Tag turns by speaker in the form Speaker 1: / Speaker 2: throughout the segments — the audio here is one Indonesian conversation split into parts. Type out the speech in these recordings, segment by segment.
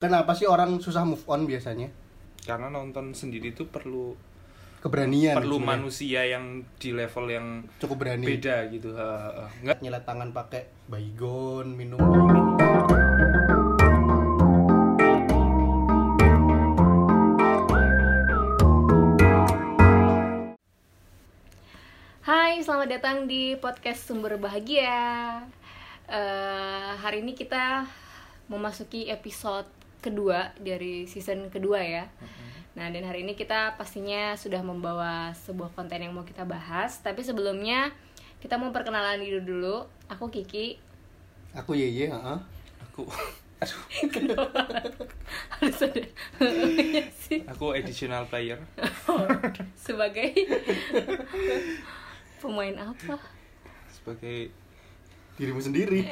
Speaker 1: Kenapa sih orang susah move on biasanya?
Speaker 2: karena nonton sendiri tuh perlu
Speaker 1: Keberanian.
Speaker 2: perlu
Speaker 1: sebenarnya.
Speaker 2: manusia yang di level yang
Speaker 1: Cukup berani.
Speaker 2: beda gitu ha, ha, ha. nggak
Speaker 1: Nyelat tangan pakai baygon, minum.
Speaker 3: Hai, selamat datang di podcast Sumber Bahagia. Eh, hari ini kita memasuki episode kedua dari season kedua ya. Nah, dan hari ini kita pastinya sudah membawa sebuah konten yang mau kita bahas. Tapi sebelumnya kita mau perkenalan diri dulu. Aku Kiki.
Speaker 1: Aku yeye, heeh.
Speaker 2: aku
Speaker 3: Harus ada Iya sih
Speaker 2: aku additional player
Speaker 3: sebagai pemain apa?
Speaker 2: sebagai
Speaker 1: Dirimu sendiri.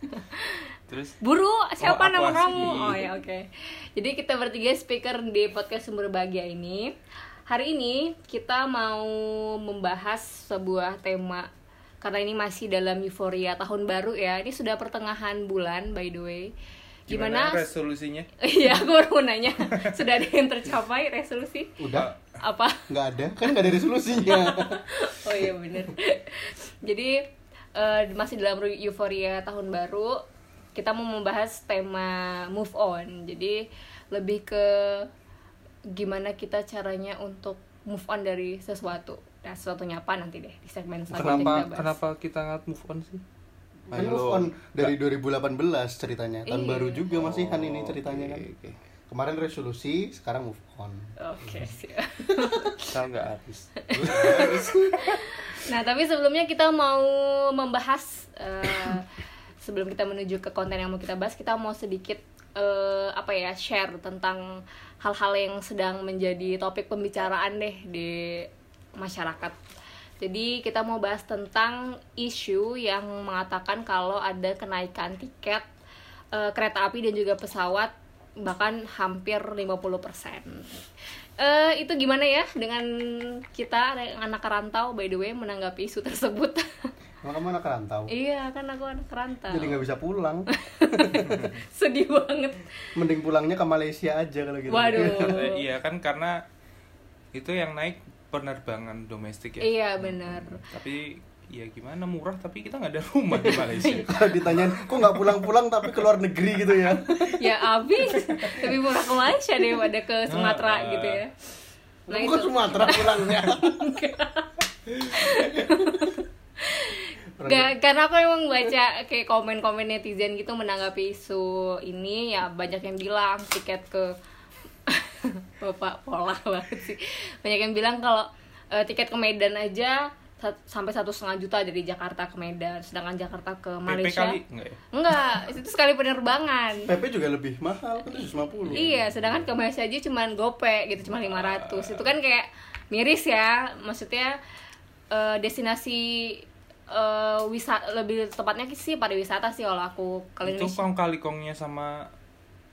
Speaker 2: terus
Speaker 3: Buru,
Speaker 2: Oh,
Speaker 3: siapa
Speaker 2: aku
Speaker 3: nama
Speaker 2: asli.
Speaker 3: kamu? Oh ya oke. Jadi kita bertiga speaker di podcast Sumber Bahagia ini. Hari ini kita mau membahas sebuah tema karena ini masih dalam euforia tahun baru ya. Ini sudah pertengahan bulan by the way.
Speaker 2: gimana
Speaker 3: Gimana?
Speaker 2: resolusinya
Speaker 3: Iya, aku baru mau nanya. Sudah ada yang tercapai resolusi?
Speaker 1: Udah,
Speaker 3: Apa?
Speaker 1: nggak ada. Kan nggak ada resolusinya.
Speaker 3: Oh iya bener Jadi eh, masih dalam euforia tahun baru Kita mau membahas tema move on Jadi lebih ke gimana kita caranya untuk move on dari sesuatu Nah sesuatunya apa nanti deh di segmen selanjutnya
Speaker 2: kenapa
Speaker 3: kita bahas.
Speaker 2: kenapa kita nggak move on sih
Speaker 1: Kan move on dari 2018 ceritanya. Tahun
Speaker 3: Iya.
Speaker 1: baru juga masih kan ini ceritanya kan.
Speaker 2: Oh, Oke, oke.
Speaker 1: Kemarin resolusi, sekarang move on.
Speaker 3: Oke siap.
Speaker 2: kita nggak habis
Speaker 3: Nah, tapi sebelumnya kita mau membahas eh, sebelum kita menuju ke konten yang mau kita bahas, kita mau sedikit eh, apa ya share tentang hal-hal yang sedang menjadi topik pembicaraan deh di masyarakat. Jadi kita mau bahas tentang isu yang mengatakan kalau ada kenaikan tiket eh, kereta api dan juga pesawat bahkan hampir 50%. Eh itu gimana ya dengan kita anak rantau by the way menanggapi isu tersebut?
Speaker 1: Emang kamu anak rantau?
Speaker 3: iya, kan aku anak rantau.
Speaker 1: Jadi nggak bisa pulang.
Speaker 3: Sedih banget.
Speaker 1: Mending pulangnya ke Malaysia aja kalau gitu.
Speaker 2: Eh,
Speaker 3: Waduh.
Speaker 2: iya kan karena itu yang naik penerbangan domestik ya
Speaker 3: iya, benar.
Speaker 2: tapi ya gimana murah tapi kita nggak ada rumah di Malaysia
Speaker 1: Kalau ditanyain, kok nggak pulang-pulang tapi ke luar negeri gitu ya?
Speaker 3: ya abis lebih murah ke Malaysia daripada ke Sumatera
Speaker 2: Nah,
Speaker 3: gitu ya. Nah,
Speaker 1: Bukan
Speaker 3: itu.
Speaker 1: Sumatera pulangnya. Orang-
Speaker 3: Ga- karena aku emang baca kayak komen-komen netizen gitu menanggapi isu ini ya banyak yang bilang tiket ke bapak pola banget sih banyak yang bilang kalau eh, tiket ke Medan aja sa- sampai satu setengah juta dari Jakarta ke Medan sedangkan Jakarta ke
Speaker 2: PP
Speaker 3: Malaysia
Speaker 2: kali enggak ya
Speaker 3: enggak itu sekali penerbangan
Speaker 1: PP juga lebih mahal, kan 150
Speaker 3: Iya, sedangkan ke Malaysia aja cuman gope gitu, cuma 500. Itu kan kayak miris ya. Maksudnya eh, destinasi eh, wisa- lebih tepatnya sih pariwisata sih kalau aku kalau
Speaker 2: itu
Speaker 3: Indonesia.
Speaker 2: kong kali kongnya sama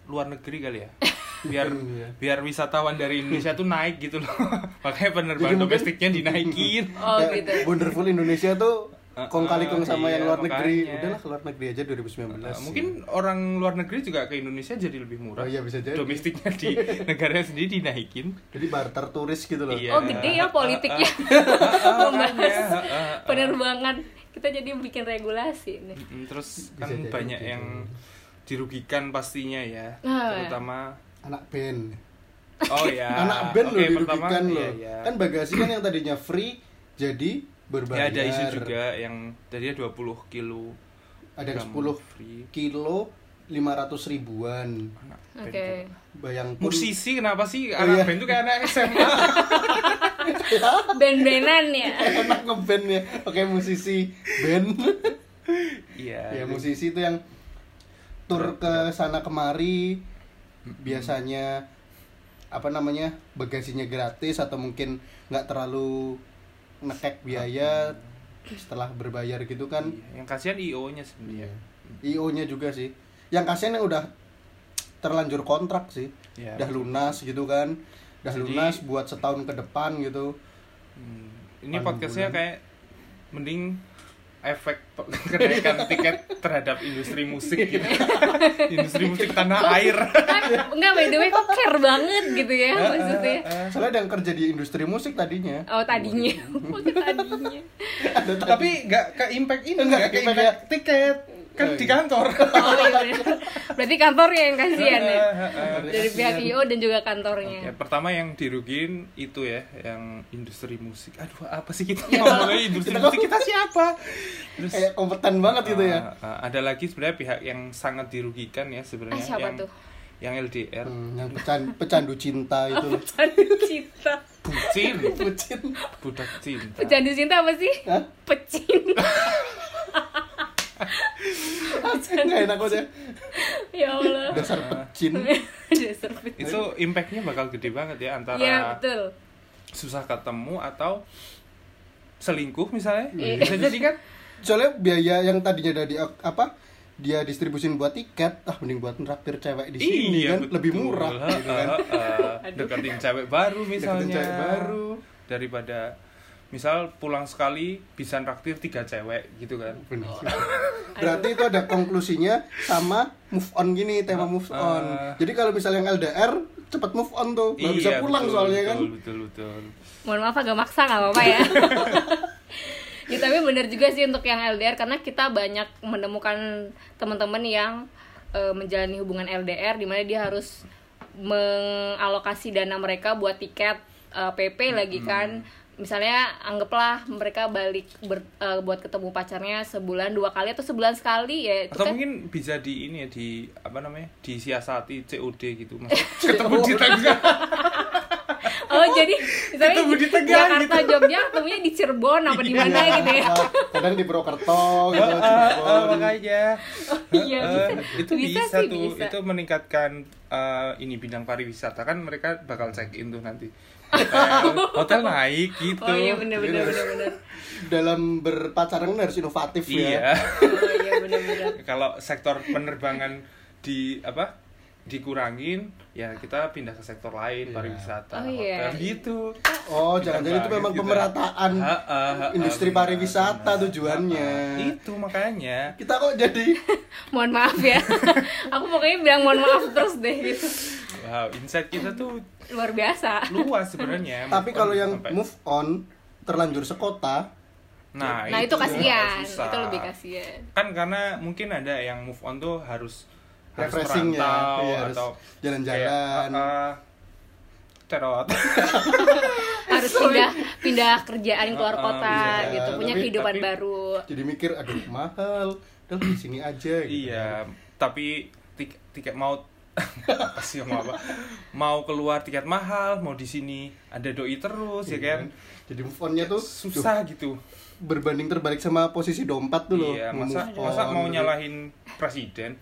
Speaker 2: luar negeri kali ya biar
Speaker 1: Mungkin, iya.
Speaker 2: biar wisatawan dari Indonesia tuh naik gitu loh makanya penerbangan
Speaker 1: mungkin-
Speaker 2: domestiknya dinaikin
Speaker 3: Oh,
Speaker 1: Ya,
Speaker 3: gitu.
Speaker 1: Wonderful Indonesia tuh
Speaker 2: Uh-uh,
Speaker 1: kong kali kong sama
Speaker 2: iya,
Speaker 1: yang luar negeri.
Speaker 2: makanya.
Speaker 1: Udahlah ke luar negeri aja 2019.
Speaker 2: Nah,
Speaker 1: sih.
Speaker 2: mungkin orang luar negeri juga ke Indonesia jadi lebih murah
Speaker 1: Oh iya, bisa jadi.
Speaker 2: domestiknya di negaranya sendiri dinaikin
Speaker 1: jadi barter turis gitu loh.
Speaker 2: Iya.
Speaker 3: Oh, gede ya politiknya. Membahas penerbangan. Kita jadi bikin regulasi nih.
Speaker 2: Mm, terus
Speaker 1: Bisa
Speaker 2: kan
Speaker 1: jadi,
Speaker 2: banyak
Speaker 1: bisa
Speaker 2: yang
Speaker 1: jadi.
Speaker 2: dirugikan pastinya ya
Speaker 3: Ah.
Speaker 2: terutama
Speaker 1: Anak band.
Speaker 2: oh ya
Speaker 1: Anak band
Speaker 2: Oke,
Speaker 1: loh
Speaker 2: pertama,
Speaker 1: dirugikan
Speaker 2: iya,
Speaker 1: loh.
Speaker 2: iya.
Speaker 1: Kan bagasi kan yang tadinya free jadi
Speaker 2: ya
Speaker 1: berbayar.
Speaker 2: ada isu juga yang tadinya 20 kilo
Speaker 1: Ada yang 10
Speaker 2: gram free
Speaker 1: kilo 500 ribuan.
Speaker 2: anak band
Speaker 3: Oke.
Speaker 2: tuh.
Speaker 1: Bayang pun-
Speaker 2: musisi kenapa sih
Speaker 1: Oh, iya.
Speaker 2: anak band kan? tuh kayak anak SMA
Speaker 3: Band-bandan ya.
Speaker 1: enak ngeband ya. Oke, musisi band. ya
Speaker 2: iya
Speaker 1: musisi itu yang
Speaker 2: Nah,
Speaker 1: tur ke sana kemari biasanya apa namanya bagasinya gratis atau mungkin nggak terlalu ngekek biaya setelah berbayar gitu kan
Speaker 2: Iya, yang kasihan IO nya sebenarnya iya.
Speaker 1: io nya juga sih yang kasihan yang udah terlanjur kontrak sih
Speaker 2: Iya.
Speaker 1: udah lunas gitu kan udah
Speaker 2: Jadi-
Speaker 1: lunas buat setahun ke depan gitu
Speaker 2: Hmm. ini
Speaker 1: Paling
Speaker 2: podcastnya
Speaker 1: bulan.
Speaker 2: kayak mending efek pe- kenaikan tiket terhadap industri musik gitu. industri musik tanah air.
Speaker 3: kan enggak by the way kok care banget gitu ya
Speaker 1: eh,
Speaker 3: maksudnya
Speaker 2: Eh.
Speaker 1: Soalnya ada yang kerja di industri musik tadinya.
Speaker 3: oh tadinya Oke, tadinya
Speaker 2: Tapi nggak ke impact ini, nggak ke
Speaker 1: impact
Speaker 2: impact tiket. Kan di kantor.
Speaker 3: oh, iya. berarti kantornya yang kasihan ya
Speaker 2: Eh,
Speaker 3: dari
Speaker 1: eh,
Speaker 3: pihak
Speaker 1: Kasihan.
Speaker 3: IO dan juga kantornya
Speaker 2: Ya, pertama yang dirugin itu ya, yang industri musik. Aduh, apa sih kita
Speaker 3: Ya,
Speaker 2: ngomongnya industri musik kita siapa? Terus
Speaker 1: Kayak kompeten banget gitu ya.
Speaker 2: uh, uh, ada lagi sebenarnya pihak yang sangat dirugikan ya sebenarnya
Speaker 3: Ah, siapa
Speaker 2: yang
Speaker 3: tuh?
Speaker 2: yang LDR.
Speaker 1: Hmm, yang pecan- pecandu cinta itu. loh.
Speaker 3: pecandu cinta
Speaker 2: Bucin,
Speaker 1: Bucin.
Speaker 2: budak cinta.
Speaker 3: pecandu cinta apa sih
Speaker 1: Hah?
Speaker 3: pecinta
Speaker 1: Nggak enak udah.
Speaker 3: ya Allah
Speaker 2: Ah.
Speaker 1: Dasar pecin.
Speaker 3: dasar pecinta
Speaker 2: Itu impactnya bakal gede banget ya antara
Speaker 3: ya betul
Speaker 2: susah ketemu atau selingkuh misalnya.
Speaker 3: Iya.
Speaker 2: Bisa jadi kan?
Speaker 1: Soalnya biaya yang tadinya dari apa? Dia distribusin buat tiket, ah mending buat nraktir cewek di sini kan
Speaker 2: Iya, betul. Ah.
Speaker 1: lebih murah gitu kan.
Speaker 2: Heeh, heeh. deketin cewek baru misalnya.
Speaker 1: cewek baru.
Speaker 2: daripada misal pulang sekali bisa raktir tiga cewek gitu kan.
Speaker 1: Bener sih. Berarti itu ada konklusinya sama move on gini, tema
Speaker 2: Ah.
Speaker 1: move on. Jadi kalau misalnya yang LDR cepet move on tuh, nggak bisa
Speaker 2: Iya,
Speaker 1: pulang
Speaker 2: betul,
Speaker 1: soalnya
Speaker 2: betul,
Speaker 1: kan.
Speaker 2: Betul betul.
Speaker 3: mohon maaf agak maksa nggak apa-apa ya Ya, tapi bener juga sih untuk yang LDR karena kita banyak menemukan teman-teman yang eh, menjalani hubungan LDR di mana dia harus mengalokasi dana mereka buat tiket eh, PP lagi kan misalnya anggaplah mereka balik ber- eh, buat ketemu pacarnya sebulan dua kali atau sebulan sekali ya itu
Speaker 2: Atau
Speaker 3: kan
Speaker 2: mungkin bisa di ini ya di apa namanya? disiasati COD gitu Mas. Ketemu di tengah.
Speaker 3: oh jadi misalnya
Speaker 2: Ketemu di Tegal
Speaker 3: Jakarta Jogja ketemunya di Cirebon apa di mana
Speaker 1: Iya,
Speaker 3: gitu ya
Speaker 1: Kadang di Purwokerto gitu.
Speaker 2: Eh,
Speaker 1: Cirebon.
Speaker 2: makanya.
Speaker 3: iya
Speaker 1: Ya,
Speaker 2: Eh, itu bisa,
Speaker 3: sih,
Speaker 2: tuh
Speaker 3: bisa.
Speaker 2: itu meningkatkan eh, ini bidang pariwisata kan mereka bakal check in tuh nanti hotel, hotel naik gitu
Speaker 3: Oh iya bener bener
Speaker 1: Gitu.
Speaker 3: bener bener.
Speaker 1: Dalam berpacaran kan harus inovatif ya.
Speaker 2: Iya.
Speaker 3: Oh iya bener bener.
Speaker 2: kalau sektor penerbangan di apa dikurangin ya kita pindah ke sektor lain pariwisata
Speaker 3: Oh, iya.
Speaker 2: hotel gitu
Speaker 1: Oh, jangan-jangan itu
Speaker 2: Kita
Speaker 1: memang
Speaker 2: banget
Speaker 1: pemerataan
Speaker 2: kita. Ha, ha, ha,
Speaker 1: Kan industri
Speaker 2: benar,
Speaker 1: pariwisata
Speaker 2: benar.
Speaker 1: tujuannya.
Speaker 2: Ha, ha. itu makanya
Speaker 1: Kita kok jadi
Speaker 3: Mohon maaf ya. Aku pokoknya bilang mohon maaf terus deh gitu.
Speaker 2: wow insight kita tuh
Speaker 3: Luar biasa.
Speaker 2: luas sebenarnya
Speaker 1: tapi
Speaker 2: Move on
Speaker 1: kalau yang
Speaker 2: sampai-
Speaker 1: move on terlanjur sekota,
Speaker 2: nah,
Speaker 3: Nah, itu kasihan.
Speaker 2: susah.
Speaker 3: Itu lebih kasihan.
Speaker 2: kan karena mungkin ada yang move on tuh harus harus
Speaker 1: Refreshing ya,
Speaker 2: merantau
Speaker 1: iya, harus
Speaker 2: atau
Speaker 1: jalan-jalan.
Speaker 2: kayak, ah, ah, cerot
Speaker 3: Harus pindah pindah kerjaan keluar
Speaker 2: Uh-uh,
Speaker 3: kota
Speaker 2: bisa.
Speaker 3: gitu, punya
Speaker 1: Tapi-
Speaker 3: kehidupan
Speaker 2: tapi-
Speaker 3: baru.
Speaker 1: jadi mikir aduh mahal, udah di sini aja gitu.
Speaker 2: iya tapi tik- tiket mau apa sih mau apa mau keluar tiket mahal mau di sini ada doi terus ya kan
Speaker 1: Iya Jadi move on-nya tuh susah
Speaker 2: susah gitu
Speaker 1: berbanding terbalik sama posisi dompet dulu.
Speaker 2: iya masa
Speaker 1: Move
Speaker 2: masa
Speaker 1: on.
Speaker 2: mau nyalahin presiden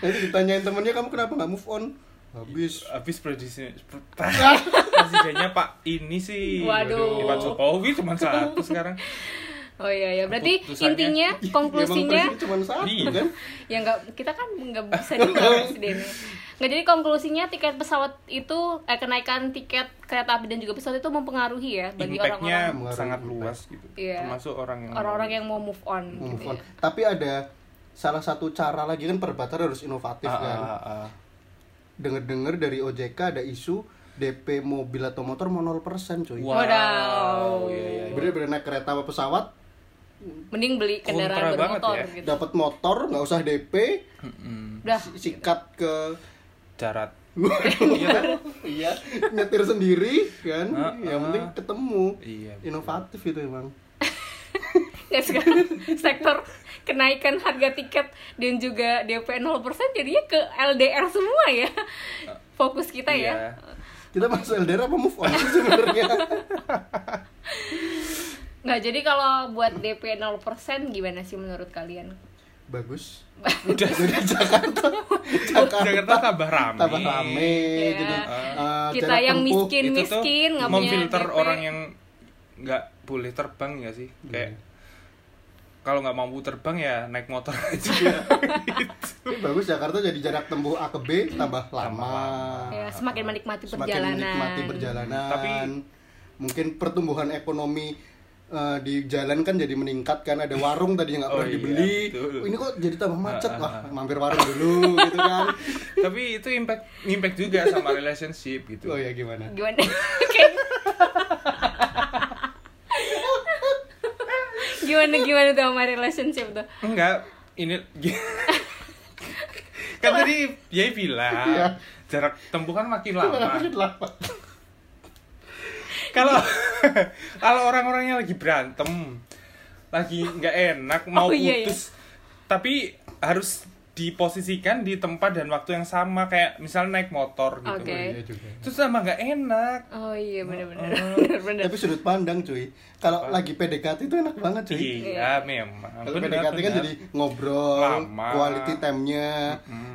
Speaker 1: Nanti ditanyain temennya kamu kenapa nggak move on? Habis
Speaker 2: habis presiden presidennya Pak ini sih
Speaker 3: Waduh.
Speaker 2: Pak Jokowi cuma satu sekarang
Speaker 3: Oh iya ya. Berarti
Speaker 2: Keputusannya-
Speaker 3: intinya
Speaker 1: Emang
Speaker 3: konklusinya
Speaker 1: presiden cuma satu
Speaker 2: Iya.
Speaker 1: kan?
Speaker 3: ya nggak kita kan nggak bisa juga presidennya nggak jadi konklusinya tiket pesawat itu eh, kenaikan tiket kereta api dan juga pesawat itu mempengaruhi ya bagi
Speaker 2: impactnya
Speaker 3: orang-orang
Speaker 1: orang-orang-
Speaker 2: sangat luas gitu
Speaker 3: Iya.
Speaker 2: termasuk orang yang
Speaker 3: orang-orang yang mau move on
Speaker 1: Move
Speaker 3: gitu
Speaker 1: on.
Speaker 3: ya.
Speaker 1: Tapi ada salah satu cara lagi kan perbatar harus inovatif
Speaker 2: Ah,
Speaker 1: kan.
Speaker 2: ah, ah, ah.
Speaker 1: Dengar-dengar dari OJK ada isu DP mobil atau motor mau 0% cuy.
Speaker 2: Wow. Iya,
Speaker 3: Wadaw.
Speaker 2: iya, iya.
Speaker 1: Bener-bener naik kereta apa pesawat
Speaker 3: mending beli
Speaker 2: Kontra
Speaker 3: kendaraan
Speaker 2: banget
Speaker 3: bermotor
Speaker 2: ya.
Speaker 3: gitu
Speaker 1: dapat motor nggak usah DP
Speaker 2: Hmm. Mm-mm.
Speaker 3: udah
Speaker 1: sikat ke
Speaker 2: Darat.
Speaker 1: iya kan? iya nyetir sendiri kan
Speaker 2: Ah,
Speaker 1: yang
Speaker 2: ah.
Speaker 1: penting ketemu
Speaker 2: Iya. betul.
Speaker 1: inovatif itu emang
Speaker 3: ya sekarang sektor kenaikan harga tiket dan juga DP 0% jadinya ke LDR semua ya fokus kita
Speaker 2: Iya.
Speaker 3: ya
Speaker 1: kita masuk LDR apa move on sih sebenarnya
Speaker 3: nggak jadi kalau buat DP 0% gimana sih menurut kalian
Speaker 1: bagus
Speaker 2: Udah
Speaker 1: jadi Jakarta Jakarta
Speaker 2: Jakarta tambah rame. Ah.
Speaker 1: tambah rame
Speaker 3: Iya.
Speaker 1: jadi eh,
Speaker 3: kita
Speaker 1: jarak
Speaker 3: yang
Speaker 1: tempuh.
Speaker 3: miskin
Speaker 2: Itu tuh
Speaker 3: miskin nggak punya
Speaker 2: memfilter
Speaker 3: DP.
Speaker 2: orang yang nggak boleh terbang ya sih.
Speaker 1: Hmm.
Speaker 2: Kayak kalau nggak mampu terbang ya naik motor aja.
Speaker 1: Iya. Ini bagus Jakarta jadi jarak tempuh A ke B
Speaker 2: Hmm.
Speaker 1: tambah lama
Speaker 3: ya, semakin menikmati
Speaker 1: Ah, semakin
Speaker 3: perjalanan
Speaker 1: menikmati perjalanan
Speaker 2: Tapi-
Speaker 1: mungkin pertumbuhan ekonomi eh, di jalan kan jadi meningkat kan ada warung tadi yang nggak
Speaker 2: Oh
Speaker 1: pernah
Speaker 2: iya,
Speaker 1: dibeli
Speaker 2: betul.
Speaker 1: ini kok jadi tambah macet
Speaker 2: Ah, ah,
Speaker 1: wah
Speaker 2: ah.
Speaker 1: mampir warung dulu gitu kan
Speaker 2: tapi itu impact impact juga sama relationship gitu
Speaker 1: oh ya gimana
Speaker 3: gimana Kayak- gimana gimana tuh sama relationship tuh
Speaker 2: enggak ini kan tadi dia
Speaker 1: Iya.
Speaker 2: bilang jarak tempuh kan makin
Speaker 1: Gimana?
Speaker 2: lama
Speaker 1: Makin lama.
Speaker 2: kalau kalau orang-orangnya lagi berantem lagi nggak enak mau
Speaker 3: Oh, iya, iya.
Speaker 2: putus tapi harus diposisikan di tempat dan waktu yang sama kayak misalnya naik motor gitu
Speaker 3: Oke.
Speaker 1: Iya juga.
Speaker 2: terus sama nggak enak
Speaker 3: oh iya benar-benar
Speaker 2: Oh.
Speaker 3: benar-benar
Speaker 1: tapi sudut pandang cuy kalau lagi PDKT itu enak banget cuy
Speaker 2: iya memang
Speaker 1: Kalau
Speaker 2: Benar,
Speaker 1: PDKT kan
Speaker 2: benar.
Speaker 1: jadi ngobrol,
Speaker 2: ya. Lama.
Speaker 1: quality time-nya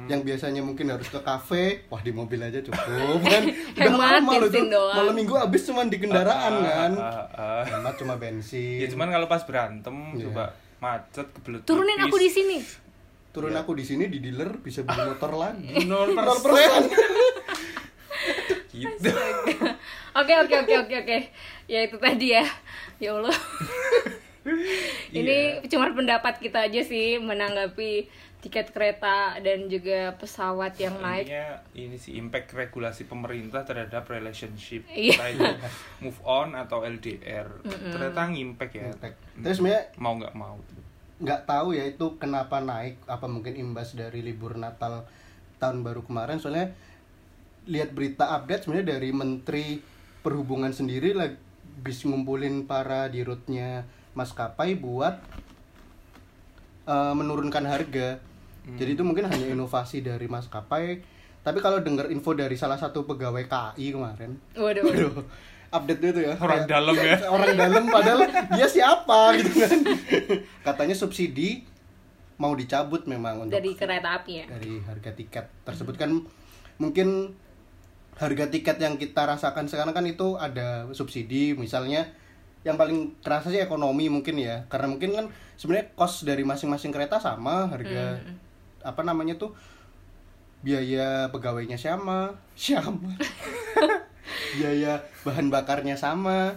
Speaker 1: yang biasanya mungkin harus ke kafe, wah di mobil aja cukup kan. Udah
Speaker 3: Hemat,
Speaker 1: lama loh itu.
Speaker 3: bensin doang.
Speaker 1: Malam minggu habis cuman di kendaraan
Speaker 2: Ah,
Speaker 1: kan.
Speaker 2: ah, ah, ah.
Speaker 1: Hemat cuma bensin.
Speaker 2: ya cuman kalau pas berantem
Speaker 1: Iya.
Speaker 2: coba macet kebelet
Speaker 3: turunin aku di sini
Speaker 1: turun
Speaker 2: ya.
Speaker 1: aku di sini di dealer bisa beli motor lagi.
Speaker 2: nol
Speaker 1: Nol
Speaker 2: persen
Speaker 1: persen.
Speaker 2: gitu
Speaker 3: oke oke oke oke oke ya itu tadi ya ya allah ini
Speaker 2: Iya.
Speaker 3: cuma pendapat kita aja sih menanggapi tiket kereta dan juga pesawat yang naik
Speaker 2: Intinya ini sih impact regulasi pemerintah terhadap relationship
Speaker 3: Iya.
Speaker 2: Entah itu move on atau LDR ternyata ngimpact ya
Speaker 1: Terus sebenarnya
Speaker 2: mau nggak mau
Speaker 1: nggak tahu ya itu kenapa naik apa mungkin imbas dari libur Natal tahun baru kemarin soalnya lihat berita update sebenarnya dari Menteri Perhubungan sendiri lagi bis ngumpulin para dirutnya maskapai buat eh, menurunkan harga jadi itu mungkin hanya inovasi dari maskapai tapi kalau dengar info dari salah satu pegawai KAI kemarin
Speaker 3: waduh, waduh.
Speaker 1: Waduh, update dia tuh ya.
Speaker 2: Orang
Speaker 1: Kayak-
Speaker 2: dalam ya.
Speaker 1: Orang dalam padahal dia siapa gitu kan. Katanya subsidi mau dicabut memang untuk
Speaker 3: dari kereta api
Speaker 2: Iya.
Speaker 3: ya
Speaker 1: dari harga tiket tersebut kan mungkin harga tiket yang kita rasakan sekarang kan itu ada subsidi misalnya yang paling kerasa sih ekonomi mungkin ya karena mungkin kan sebenarnya cost dari masing-masing kereta sama harga apa namanya tuh biaya pegawainya sama sama biaya bahan bakarnya sama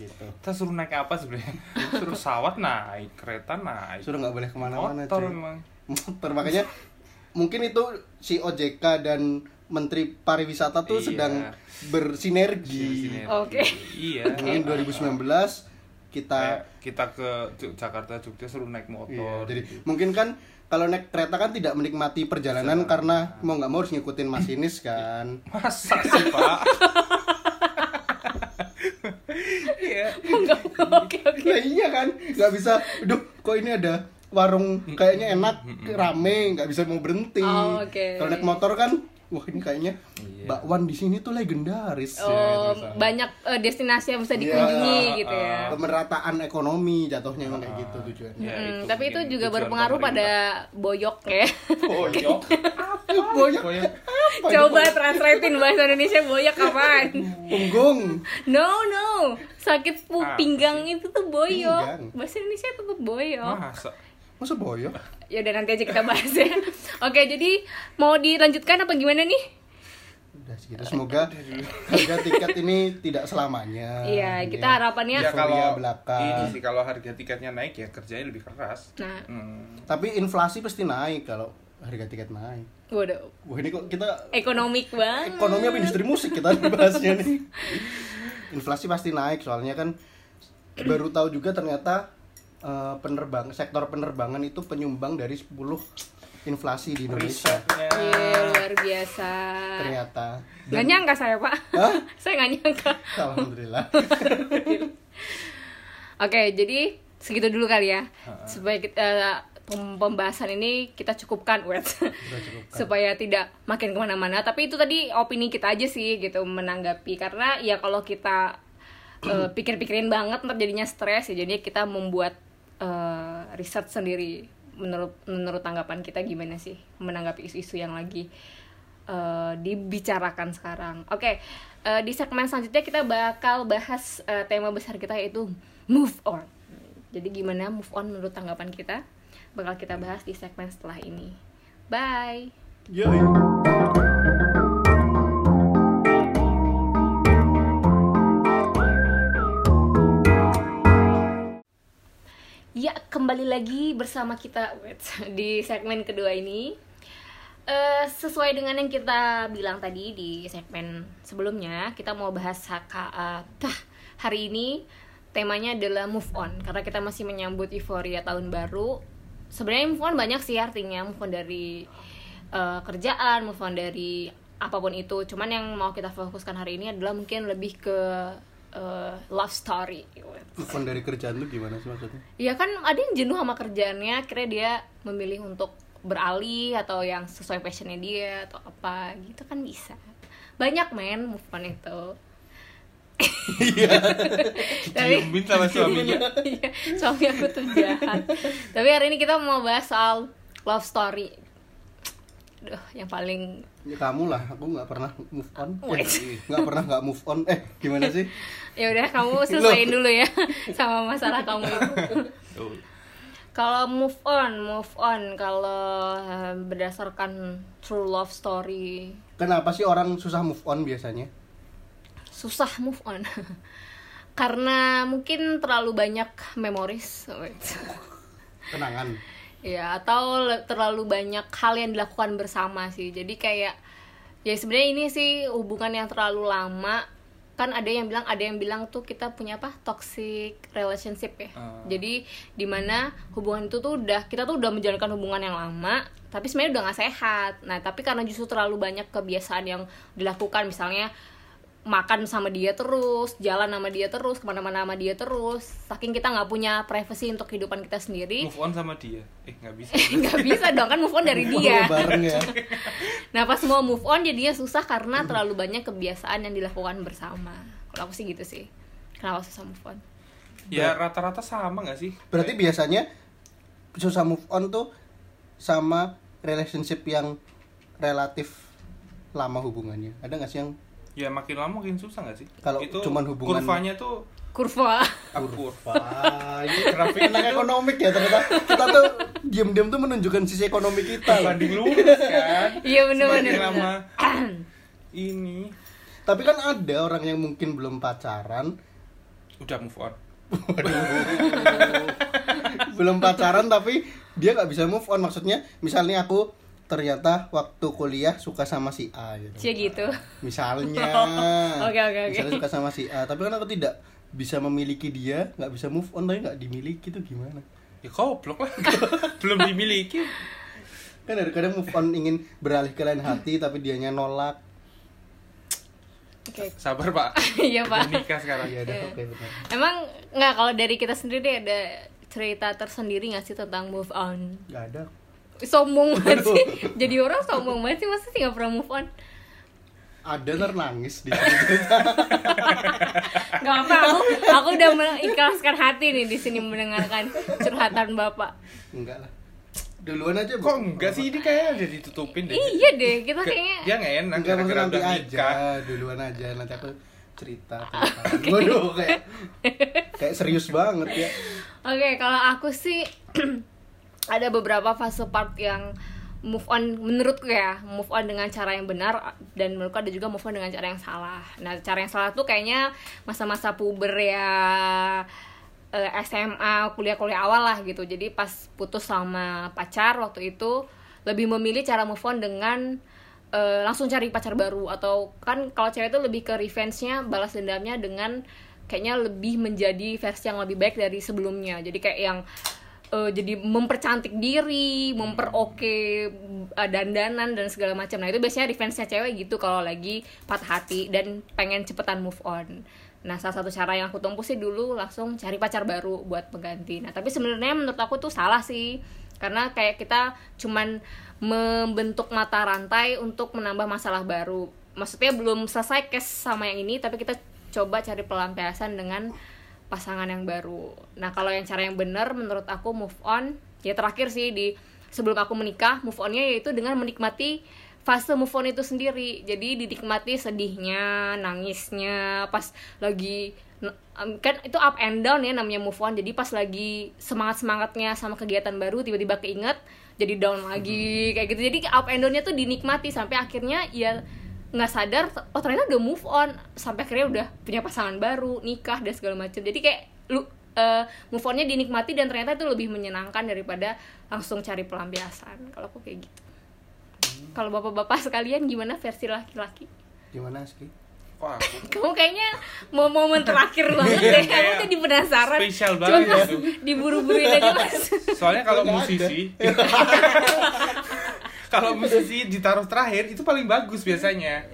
Speaker 1: gitu
Speaker 2: kita suruh naik apa sebenarnya suruh pesawat naik kereta naik
Speaker 1: sudah nggak boleh kemana-mana
Speaker 2: motor
Speaker 1: cuy.
Speaker 2: emang
Speaker 1: motor makanya mungkin itu si OJK dan Menteri Pariwisata tuh
Speaker 2: Iya.
Speaker 1: sedang bersinergi.
Speaker 2: Sinergi.
Speaker 3: Oke.
Speaker 2: iya
Speaker 1: Mungkin 2019
Speaker 2: Kayak
Speaker 1: kita
Speaker 2: kita ke Jog- Jakarta Jogja suruh naik motor
Speaker 1: iya, jadi
Speaker 2: gitu.
Speaker 1: mungkin kan kalau naik kereta kan tidak menikmati perjalanan karena mau nggak mau harus ngikutin masinis kan.
Speaker 2: masa sih pak Iya.
Speaker 3: Enggak, oke oke
Speaker 1: Nah, iya kan nggak bisa. Duh kok ini ada warung kayaknya enak rame nggak bisa mau berhenti.
Speaker 3: Oh, oke.
Speaker 1: Kalau naik motor kan wah ini kayaknya
Speaker 2: Iya. ah.
Speaker 1: bakwan di sini tuh legendaris. ya,
Speaker 3: Oh,
Speaker 1: terus.
Speaker 3: banyak eh, destinasi yang bisa dikunjungi
Speaker 2: Iya,
Speaker 3: gitu ya.
Speaker 2: uh,
Speaker 1: pemerataan ekonomi jatuhnya emang kayak gitu tujuannya.
Speaker 2: Ya,
Speaker 3: Hmm,
Speaker 2: itu
Speaker 3: tapi itu
Speaker 2: mungkin
Speaker 3: juga
Speaker 2: tujuan
Speaker 3: berpengaruh pada boyok ya.
Speaker 2: Boyok.
Speaker 1: Banyak
Speaker 2: Boyok.
Speaker 3: Coba translatein bahasa Indonesia boyok apaan?
Speaker 1: punggung.
Speaker 3: No, no. Sakit pu-
Speaker 2: Ah,
Speaker 3: pinggang itu tuh
Speaker 1: Pinggang.
Speaker 3: boyok. Bahasa Indonesia tetap boyok.
Speaker 2: Masa?
Speaker 1: Masa boyok?
Speaker 3: Ya udah nanti aja kita bahas ya. Oke, jadi mau dilanjutkan apa gimana nih?
Speaker 1: Udah segitu. Semoga harga tiket ini tidak selamanya.
Speaker 3: Iya,
Speaker 1: Ini
Speaker 3: kita
Speaker 1: ya.
Speaker 3: harapannya
Speaker 2: Ya kalau
Speaker 1: belaka.
Speaker 2: ini sih kalau harga tiketnya naik ya kerjanya lebih keras.
Speaker 3: Nah,
Speaker 2: Hmm.
Speaker 1: Tapi inflasi pasti naik kalau harga tiket naik.
Speaker 3: waduh,
Speaker 1: Wah ini kok kita
Speaker 3: ekonomik banget.
Speaker 1: ekonomi apa industri musik kita bahasnya nih. Inflasi pasti naik soalnya kan baru tahu juga ternyata eh, penerbang sektor penerbangan itu penyumbang dari 10 inflasi di Indonesia
Speaker 2: Risetnya.
Speaker 3: Iya, luar biasa.
Speaker 1: ternyata
Speaker 3: Gak nyangka saya, Pak.
Speaker 1: Hah?
Speaker 3: saya gak nyangka.
Speaker 1: Alhamdulillah.
Speaker 3: Oke, jadi segitu dulu kali ya. Supaya kita, eh, pem- pembahasan ini kita cukupkan, wet. Supaya tidak makin kemana-mana. Tapi itu tadi opini kita aja sih gitu menanggapi karena ya kalau kita eh, pikir-pikirin banget ntar jadinya stres ya. Jadi kita membuat eh, riset sendiri menurut menurut tanggapan kita gimana sih menanggapi isu-isu yang lagi eh, dibicarakan sekarang. Oke, eh, di segmen selanjutnya kita bakal bahas eh, tema besar kita yaitu move on. Jadi gimana move on menurut tanggapan kita? Bakal kita bahas di segmen setelah ini. Bye.
Speaker 1: Yoi.
Speaker 2: Oke,
Speaker 3: Ya, kembali lagi bersama kita wait, di segmen kedua ini. Eh, sesuai dengan yang kita bilang tadi di segmen sebelumnya, kita mau bahas HKA. Tah, hari ini temanya adalah move on karena kita masih menyambut euforia tahun baru. Sebenarnya move on banyak sih artinya, move on dari eh, kerjaan, move on dari apapun itu. Cuman yang mau kita fokuskan hari ini adalah mungkin lebih ke eh, love story.
Speaker 1: Bukan dari kerjaan lu gimana sih maksudnya?
Speaker 3: Ya kan ada yang jenuh sama kerjaannya, akhirnya dia memilih untuk beralih atau yang sesuai passionnya dia atau apa gitu kan bisa. Banyak men move on itu. Tapi
Speaker 2: Didiemin sama suaminya.
Speaker 3: Iya, suami aku tuh jahat. Tapi hari ini kita mau bahas soal love story. Duh, yang paling
Speaker 1: Ya kamu lah, aku nggak pernah move on.
Speaker 3: Wait.
Speaker 1: Eh, Nggak pernah nggak move on. Eh gimana sih?
Speaker 3: ya udah kamu selesaiin dulu ya sama masalah kamu itu.
Speaker 2: Tuh.
Speaker 3: Kalau move on, move on kalau eh, berdasarkan true love story
Speaker 1: Kenapa sih orang susah move on biasanya?
Speaker 3: susah move on karena mungkin terlalu banyak memories
Speaker 1: Kenangan.
Speaker 3: ya atau le- terlalu banyak hal yang dilakukan bersama sih jadi kayak ya sebenarnya ini sih hubungan yang terlalu lama kan ada yang bilang ada yang bilang tuh kita punya apa toxic relationship ya
Speaker 2: Ah.
Speaker 3: jadi dimana hubungan itu tuh udah kita tuh udah menjalankan hubungan yang lama tapi sebenarnya udah nggak sehat nah tapi karena justru terlalu banyak kebiasaan yang dilakukan misalnya makan sama dia terus, jalan sama dia terus, kemana-mana sama dia terus. Saking kita nggak punya privacy untuk kehidupan kita sendiri,
Speaker 2: Move on sama dia. Eh nggak bisa.
Speaker 3: nggak bisa dong kan move on dari
Speaker 2: Oh,
Speaker 3: dia.
Speaker 1: Bareng ya.
Speaker 3: Nah pas mau move on jadinya susah karena terlalu banyak kebiasaan yang dilakukan bersama. Kalau aku sih gitu sih. Kenapa susah move on?
Speaker 2: Ya rata-rata sama nggak sih?
Speaker 1: Berarti biasanya susah move on tuh sama relationship yang relatif lama hubungannya. Ada nggak sih yang
Speaker 2: Ya makin lama makin susah nggak sih?
Speaker 1: Kalau
Speaker 2: itu
Speaker 1: cuman hubungan-
Speaker 2: kurvanya tuh
Speaker 3: Kurva.
Speaker 2: akur.
Speaker 1: Wah, ini
Speaker 2: Grafik
Speaker 1: anak ekonomik ya ternyata. Kita tuh diam-diam tuh menunjukkan sisi ekonomi kita. loh.
Speaker 2: banding lurus kan.
Speaker 3: Iya
Speaker 2: Semakin
Speaker 3: bener-bener.
Speaker 2: lama ini
Speaker 1: Tapi kan ada orang yang mungkin belum pacaran,
Speaker 2: udah move on.
Speaker 1: belum pacaran tapi dia nggak bisa move on. Maksudnya, misalnya aku ternyata waktu kuliah suka sama si A gitu.
Speaker 3: Cie gitu. Oh,
Speaker 1: misalnya
Speaker 3: Oke, oke, oke.
Speaker 1: misalnya suka sama si A tapi kan aku tidak bisa memiliki dia nggak bisa move on tapi nggak dimiliki tuh gimana
Speaker 2: Ya goblok lah. Belum dimiliki.
Speaker 1: kan ada kadang move on ingin beralih ke lain hati tapi dianya nolak
Speaker 3: Oke.
Speaker 2: Sabar, Pak.
Speaker 3: Iya
Speaker 2: Udah
Speaker 3: pak.
Speaker 2: nikah sekarang.
Speaker 1: iya dah oke benar
Speaker 3: Emang nggak kalau dari kita sendiri ada cerita tersendiri nggak sih tentang move on?
Speaker 1: nggak ada
Speaker 3: Sombong banget sih. Jadi orang sombong banget sih masa sih nggak pernah move on?
Speaker 1: ada ntar nangis di
Speaker 3: Gak apa, aku, aku udah mengikhlaskan hati nih di sini mendengarkan curhatan bapak.
Speaker 1: enggak lah duluan aja Bu.
Speaker 2: Kok enggak sih ini kayaknya udah ditutupin deh.
Speaker 3: Iya deh, kita
Speaker 2: Ke-
Speaker 3: kayaknya
Speaker 2: Dia nggak enak
Speaker 1: enggak maksudnya
Speaker 2: gara-gara
Speaker 1: nanti
Speaker 2: udah
Speaker 1: aja
Speaker 2: nikah.
Speaker 1: duluan aja nanti aku cerita tentang waduh kayak kayak serius banget ya
Speaker 3: oke. Kalau aku sih ada beberapa fase part yang move on menurutku ya move on dengan cara yang benar dan menurutku ada juga move on dengan cara yang salah. Nah cara yang salah tuh kayaknya masa-masa puber ya eh, SMA kuliah-kuliah awal lah gitu. Jadi pas putus sama pacar waktu itu lebih memilih cara move on dengan eh, langsung cari pacar baru atau kan kalau cewek itu lebih ke revenge-nya balas dendamnya dengan kayaknya lebih menjadi versi yang lebih baik dari sebelumnya jadi kayak yang eh, jadi mempercantik diri memperoke eh, dandanan dan segala macam nah itu biasanya revenge-nya cewek gitu kalau lagi patah hati dan pengen cepetan move on nah salah satu cara yang aku tempuh sih dulu langsung cari pacar baru buat pengganti nah tapi sebenarnya menurut aku tuh salah sih karena kayak kita cuman membentuk mata rantai untuk menambah masalah baru maksudnya belum selesai case sama yang ini tapi kita coba cari pelampiasan dengan pasangan yang baru nah kalau yang cara yang benar menurut aku move on ya terakhir sih di sebelum aku menikah move onnya yaitu dengan menikmati fase move on itu sendiri jadi dinikmati sedihnya nangisnya pas lagi Um, kan itu up and down ya namanya move on jadi pas lagi semangat semangatnya sama kegiatan baru tiba-tiba keinget jadi down lagi kayak gitu jadi up and downnya tuh dinikmati sampai akhirnya ya nggak sadar oh ternyata udah move on sampai akhirnya udah punya pasangan baru nikah dan segala macam jadi kayak lu eh, move onnya dinikmati dan ternyata itu lebih menyenangkan daripada langsung cari pelampiasan kalau aku kayak gitu kalau bapak-bapak sekalian gimana versi laki-laki
Speaker 1: Gimana Ski?
Speaker 2: Wah, aku
Speaker 3: kamu kayaknya mau momen terakhir banget deh kamu
Speaker 2: Kayak
Speaker 3: tadi penasaran
Speaker 2: spesial
Speaker 3: cuma
Speaker 2: banget gitu.
Speaker 3: mas
Speaker 2: itu.
Speaker 3: diburu-buruin aja mas
Speaker 2: Soalnya kalau
Speaker 1: Nggak ada.
Speaker 2: musisi Kalau musisi ditaruh terakhir itu paling bagus biasanya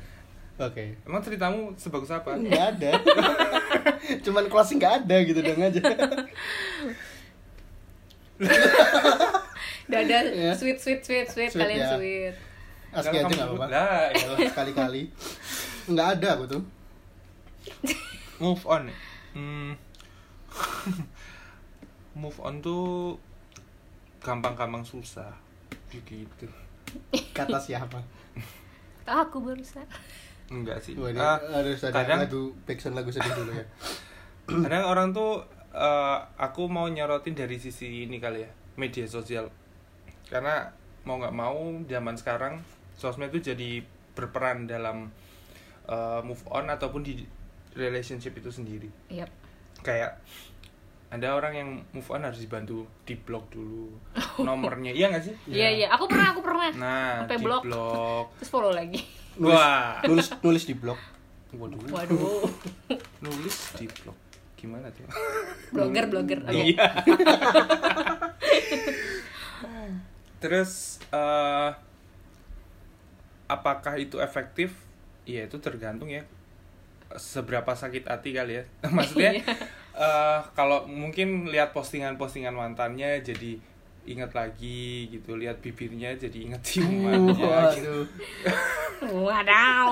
Speaker 1: Oke.
Speaker 2: Emang ceritamu sebagus apa?
Speaker 1: Nggak ada. Cuman closing nggak ada gitu dong aja.
Speaker 3: dada
Speaker 1: Iya.
Speaker 3: sweet sweet sweet sweet,
Speaker 1: Sweet,
Speaker 3: kalian
Speaker 1: ya.
Speaker 3: sweet
Speaker 1: Aski Ah, aja
Speaker 2: Kalau kamu
Speaker 1: nggak
Speaker 2: sebut,
Speaker 1: apa-apa.
Speaker 2: lah, iya. iyalah.
Speaker 1: Sekali-kali. Nggak ada aku tuh.
Speaker 2: move on hmm. move on tuh gampang-gampang susah gitu
Speaker 1: Kata siapa?
Speaker 3: tahu aku barusan
Speaker 2: enggak sih
Speaker 1: Wah, ini
Speaker 2: Ah,
Speaker 1: harus ada
Speaker 2: kadang
Speaker 1: lagu backsound lagu sedih dulu ya.
Speaker 2: kadang orang tuh eh, aku mau nyorotin dari sisi ini kali ya media sosial karena mau nggak mau zaman sekarang sosmed itu jadi berperan dalam eh, move on ataupun di relationship itu sendiri
Speaker 3: Yap.
Speaker 2: kayak ada orang yang move on harus dibantu di blok dulu nomornya iya nggak sih
Speaker 3: Iya iya, aku pernah aku pernah.
Speaker 2: nah
Speaker 3: Sampai
Speaker 2: di
Speaker 3: blok.
Speaker 2: blok,
Speaker 3: Terus follow lagi.
Speaker 1: Nulis,
Speaker 2: wah
Speaker 1: nulis nulis di blog.
Speaker 2: waduh
Speaker 3: Waduh,
Speaker 2: nulis di blok gimana tuh
Speaker 3: blogger blogger. Oke.
Speaker 2: Iya. Terus eh, apakah itu efektif? Ya itu tergantung ya seberapa sakit hati kali ya. Maksudnya eh, kalau mungkin lihat postingan-postingan mantannya jadi ingat lagi gitu, lihat bibirnya jadi ingat ciumannya. gitu.
Speaker 1: Waduh.
Speaker 3: Wadaw.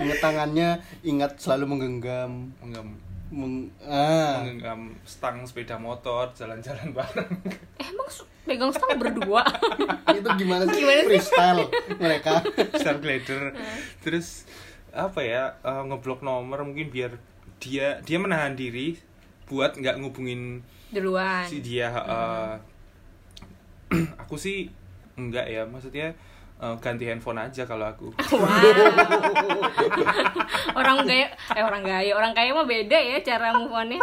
Speaker 1: Ingat tangannya, ingat selalu menggenggam.
Speaker 2: Menggem-
Speaker 1: Meng, ah.
Speaker 2: Menggenggam stang sepeda motor, jalan-jalan bareng.
Speaker 3: Eh, Emang su- pegang stang berdua.
Speaker 1: itu gimana sih
Speaker 3: Gimana sih?
Speaker 1: freestyle mereka
Speaker 2: star glider terus apa ya eh, ngeblok nomor mungkin biar dia dia menahan diri buat nggak ngubungin
Speaker 3: Duluan.
Speaker 2: si dia eh, aku sih enggak ya maksudnya eh, ganti handphone aja kalau aku
Speaker 3: Wow. orang gaya eh orang gaya, orang kaya mah beda ya cara move on-nya.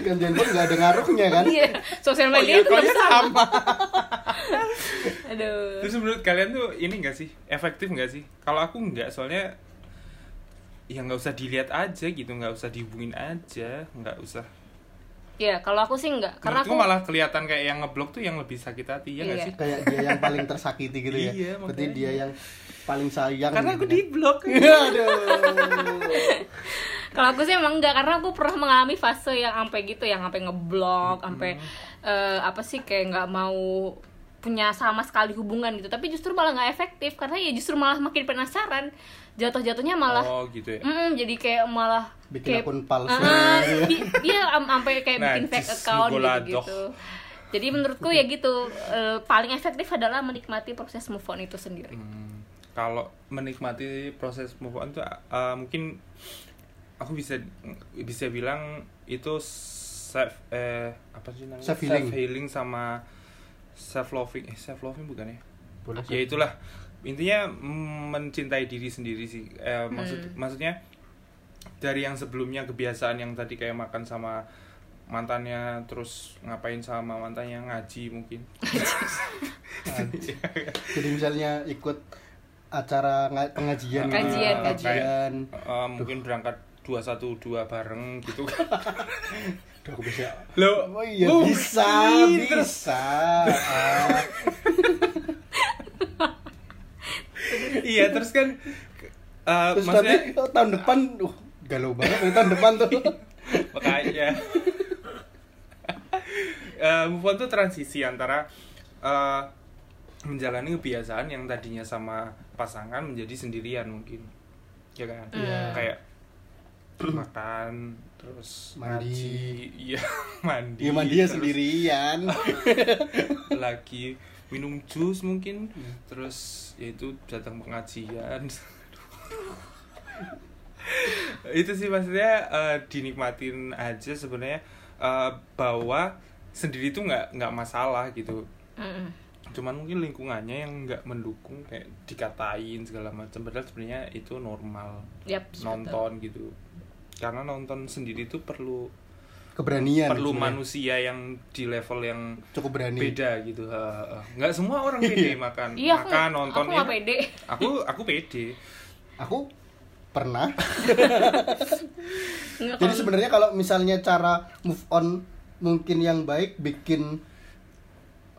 Speaker 1: gantian pun nggak ada ngaruhnya kan
Speaker 3: Iya, sosial
Speaker 2: Oh iya,
Speaker 3: media itu
Speaker 2: kalau sama.
Speaker 3: aduh.
Speaker 2: Terus menurut kalian tuh ini enggak sih? Efektif enggak sih? Kalau aku enggak, soalnya ya nggak usah dilihat aja gitu, nggak usah dihubungin aja, nggak usah.
Speaker 3: Iya, kalau aku sih enggak karena
Speaker 2: Menurutku
Speaker 3: aku
Speaker 2: malah kelihatan kayak yang ngeblok tuh yang lebih sakit hati ya nggak
Speaker 3: Iya.
Speaker 2: sih?
Speaker 1: kayak dia yang paling tersakiti gitu ya
Speaker 2: Iya,
Speaker 1: berarti
Speaker 2: makanya.
Speaker 1: dia yang paling sayang
Speaker 2: Karena
Speaker 1: gitu
Speaker 2: aku di blok.
Speaker 1: kan. Iya, aduh
Speaker 3: Kalau aku sih emang enggak karena aku pernah mengalami fase yang sampai gitu, yang sampai ngeblok, sampai
Speaker 2: Hmm.
Speaker 3: eh, apa sih kayak nggak mau punya sama sekali hubungan gitu. Tapi justru malah nggak efektif karena ya justru malah makin penasaran. Jatuh-jatuhnya malah
Speaker 2: Oh gitu ya.
Speaker 3: Mm, jadi kayak malah
Speaker 1: bikin
Speaker 3: kayak
Speaker 1: akun palsu
Speaker 3: Ah,
Speaker 1: gitu ya.
Speaker 3: di- dia am- sampai kayak
Speaker 2: Nah,
Speaker 3: bikin fake
Speaker 2: jis,
Speaker 3: account
Speaker 2: goladok.
Speaker 3: gitu-gitu. Jadi menurutku ya gitu, eh, paling efektif adalah menikmati proses move on itu sendiri.
Speaker 2: Hmm, kalau menikmati proses move on tuh uh, mungkin aku bisa bisa bilang itu self eh apa sih namanya
Speaker 1: Self healing.
Speaker 2: healing sama self loving eh self loving bukan ya?
Speaker 1: Boleh,
Speaker 2: Ya itulah intinya mm, mencintai diri sendiri sih. Eh, maksud maksudnya dari yang sebelumnya kebiasaan yang tadi kayak makan sama mantannya terus ngapain sama mantannya ngaji mungkin
Speaker 1: jadi misalnya ikut acara nga- pengajian gitu.
Speaker 3: Kajian,
Speaker 1: Kajian.
Speaker 2: Eh, mungkin berangkat dua satu dua bareng gitu kan
Speaker 1: Aduh, aku bisa
Speaker 2: Lo,
Speaker 1: oh iya
Speaker 2: lo
Speaker 1: bisa
Speaker 2: pinter.
Speaker 1: bisa Ah.
Speaker 2: iya terus kan eh,
Speaker 1: terus
Speaker 2: maksudnya Iya,
Speaker 1: nanti oh, tahun depan uh, galau banget nih tahun depan tuh
Speaker 2: makanya Eh, move on tuh transisi antara eh, menjalani kebiasaan yang tadinya sama pasangan menjadi sendirian mungkin ya kan
Speaker 1: Iya.
Speaker 2: kayak makan terus
Speaker 1: Mandi.
Speaker 2: ngaji, iya mandi
Speaker 1: Iya, dia
Speaker 2: terus
Speaker 1: sendirian
Speaker 2: lagi minum jus mungkin terus yaitu datang pengajian itu sih maksudnya eh, dinikmatin aja sebenarnya eh, bahwa sendiri tuh nggak nggak masalah gitu
Speaker 3: Mm-mm.
Speaker 2: cuman mungkin lingkungannya yang nggak mendukung kayak dikatain segala macam padahal sebenarnya itu normal
Speaker 3: Yap, betul.
Speaker 2: nonton gitu karena nonton sendiri tuh perlu
Speaker 1: keberanian Iya,
Speaker 2: perlu
Speaker 1: sebenarnya.
Speaker 2: manusia yang di level yang
Speaker 1: cukup berani
Speaker 2: beda gitu Ha, ha, ha. nggak semua orang pede makan
Speaker 3: Iya, aku,
Speaker 2: makan nonton
Speaker 3: aku gak
Speaker 2: itu-
Speaker 3: pede.
Speaker 2: aku aku pede
Speaker 1: aku pernah
Speaker 3: Nggak,
Speaker 1: jadi
Speaker 3: kalau-
Speaker 1: sebenarnya kalau misalnya cara move on mungkin yang baik bikin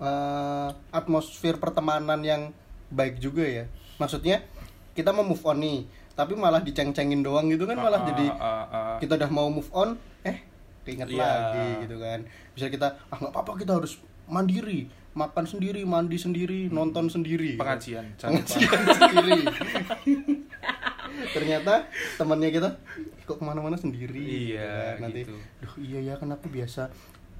Speaker 1: eh, atmosfer pertemanan yang baik juga ya maksudnya kita mau move on nih tapi malah diceng-cengin doang gitu kan malah
Speaker 2: Ah,
Speaker 1: jadi
Speaker 2: ah, ah.
Speaker 1: kita udah mau move on eh keinget
Speaker 2: Iya.
Speaker 1: lagi gitu kan bisa kita ah nggak apa-apa kita harus mandiri makan sendiri mandi sendiri nonton sendiri
Speaker 2: pengajian
Speaker 1: Iya.
Speaker 2: jangan lupa.
Speaker 1: pengajian sendiri ternyata temannya kita "Ih, kok kemana-mana sendiri
Speaker 2: Iya,
Speaker 1: Nah, nanti
Speaker 2: gitu.
Speaker 1: duh iya ya kan aku biasa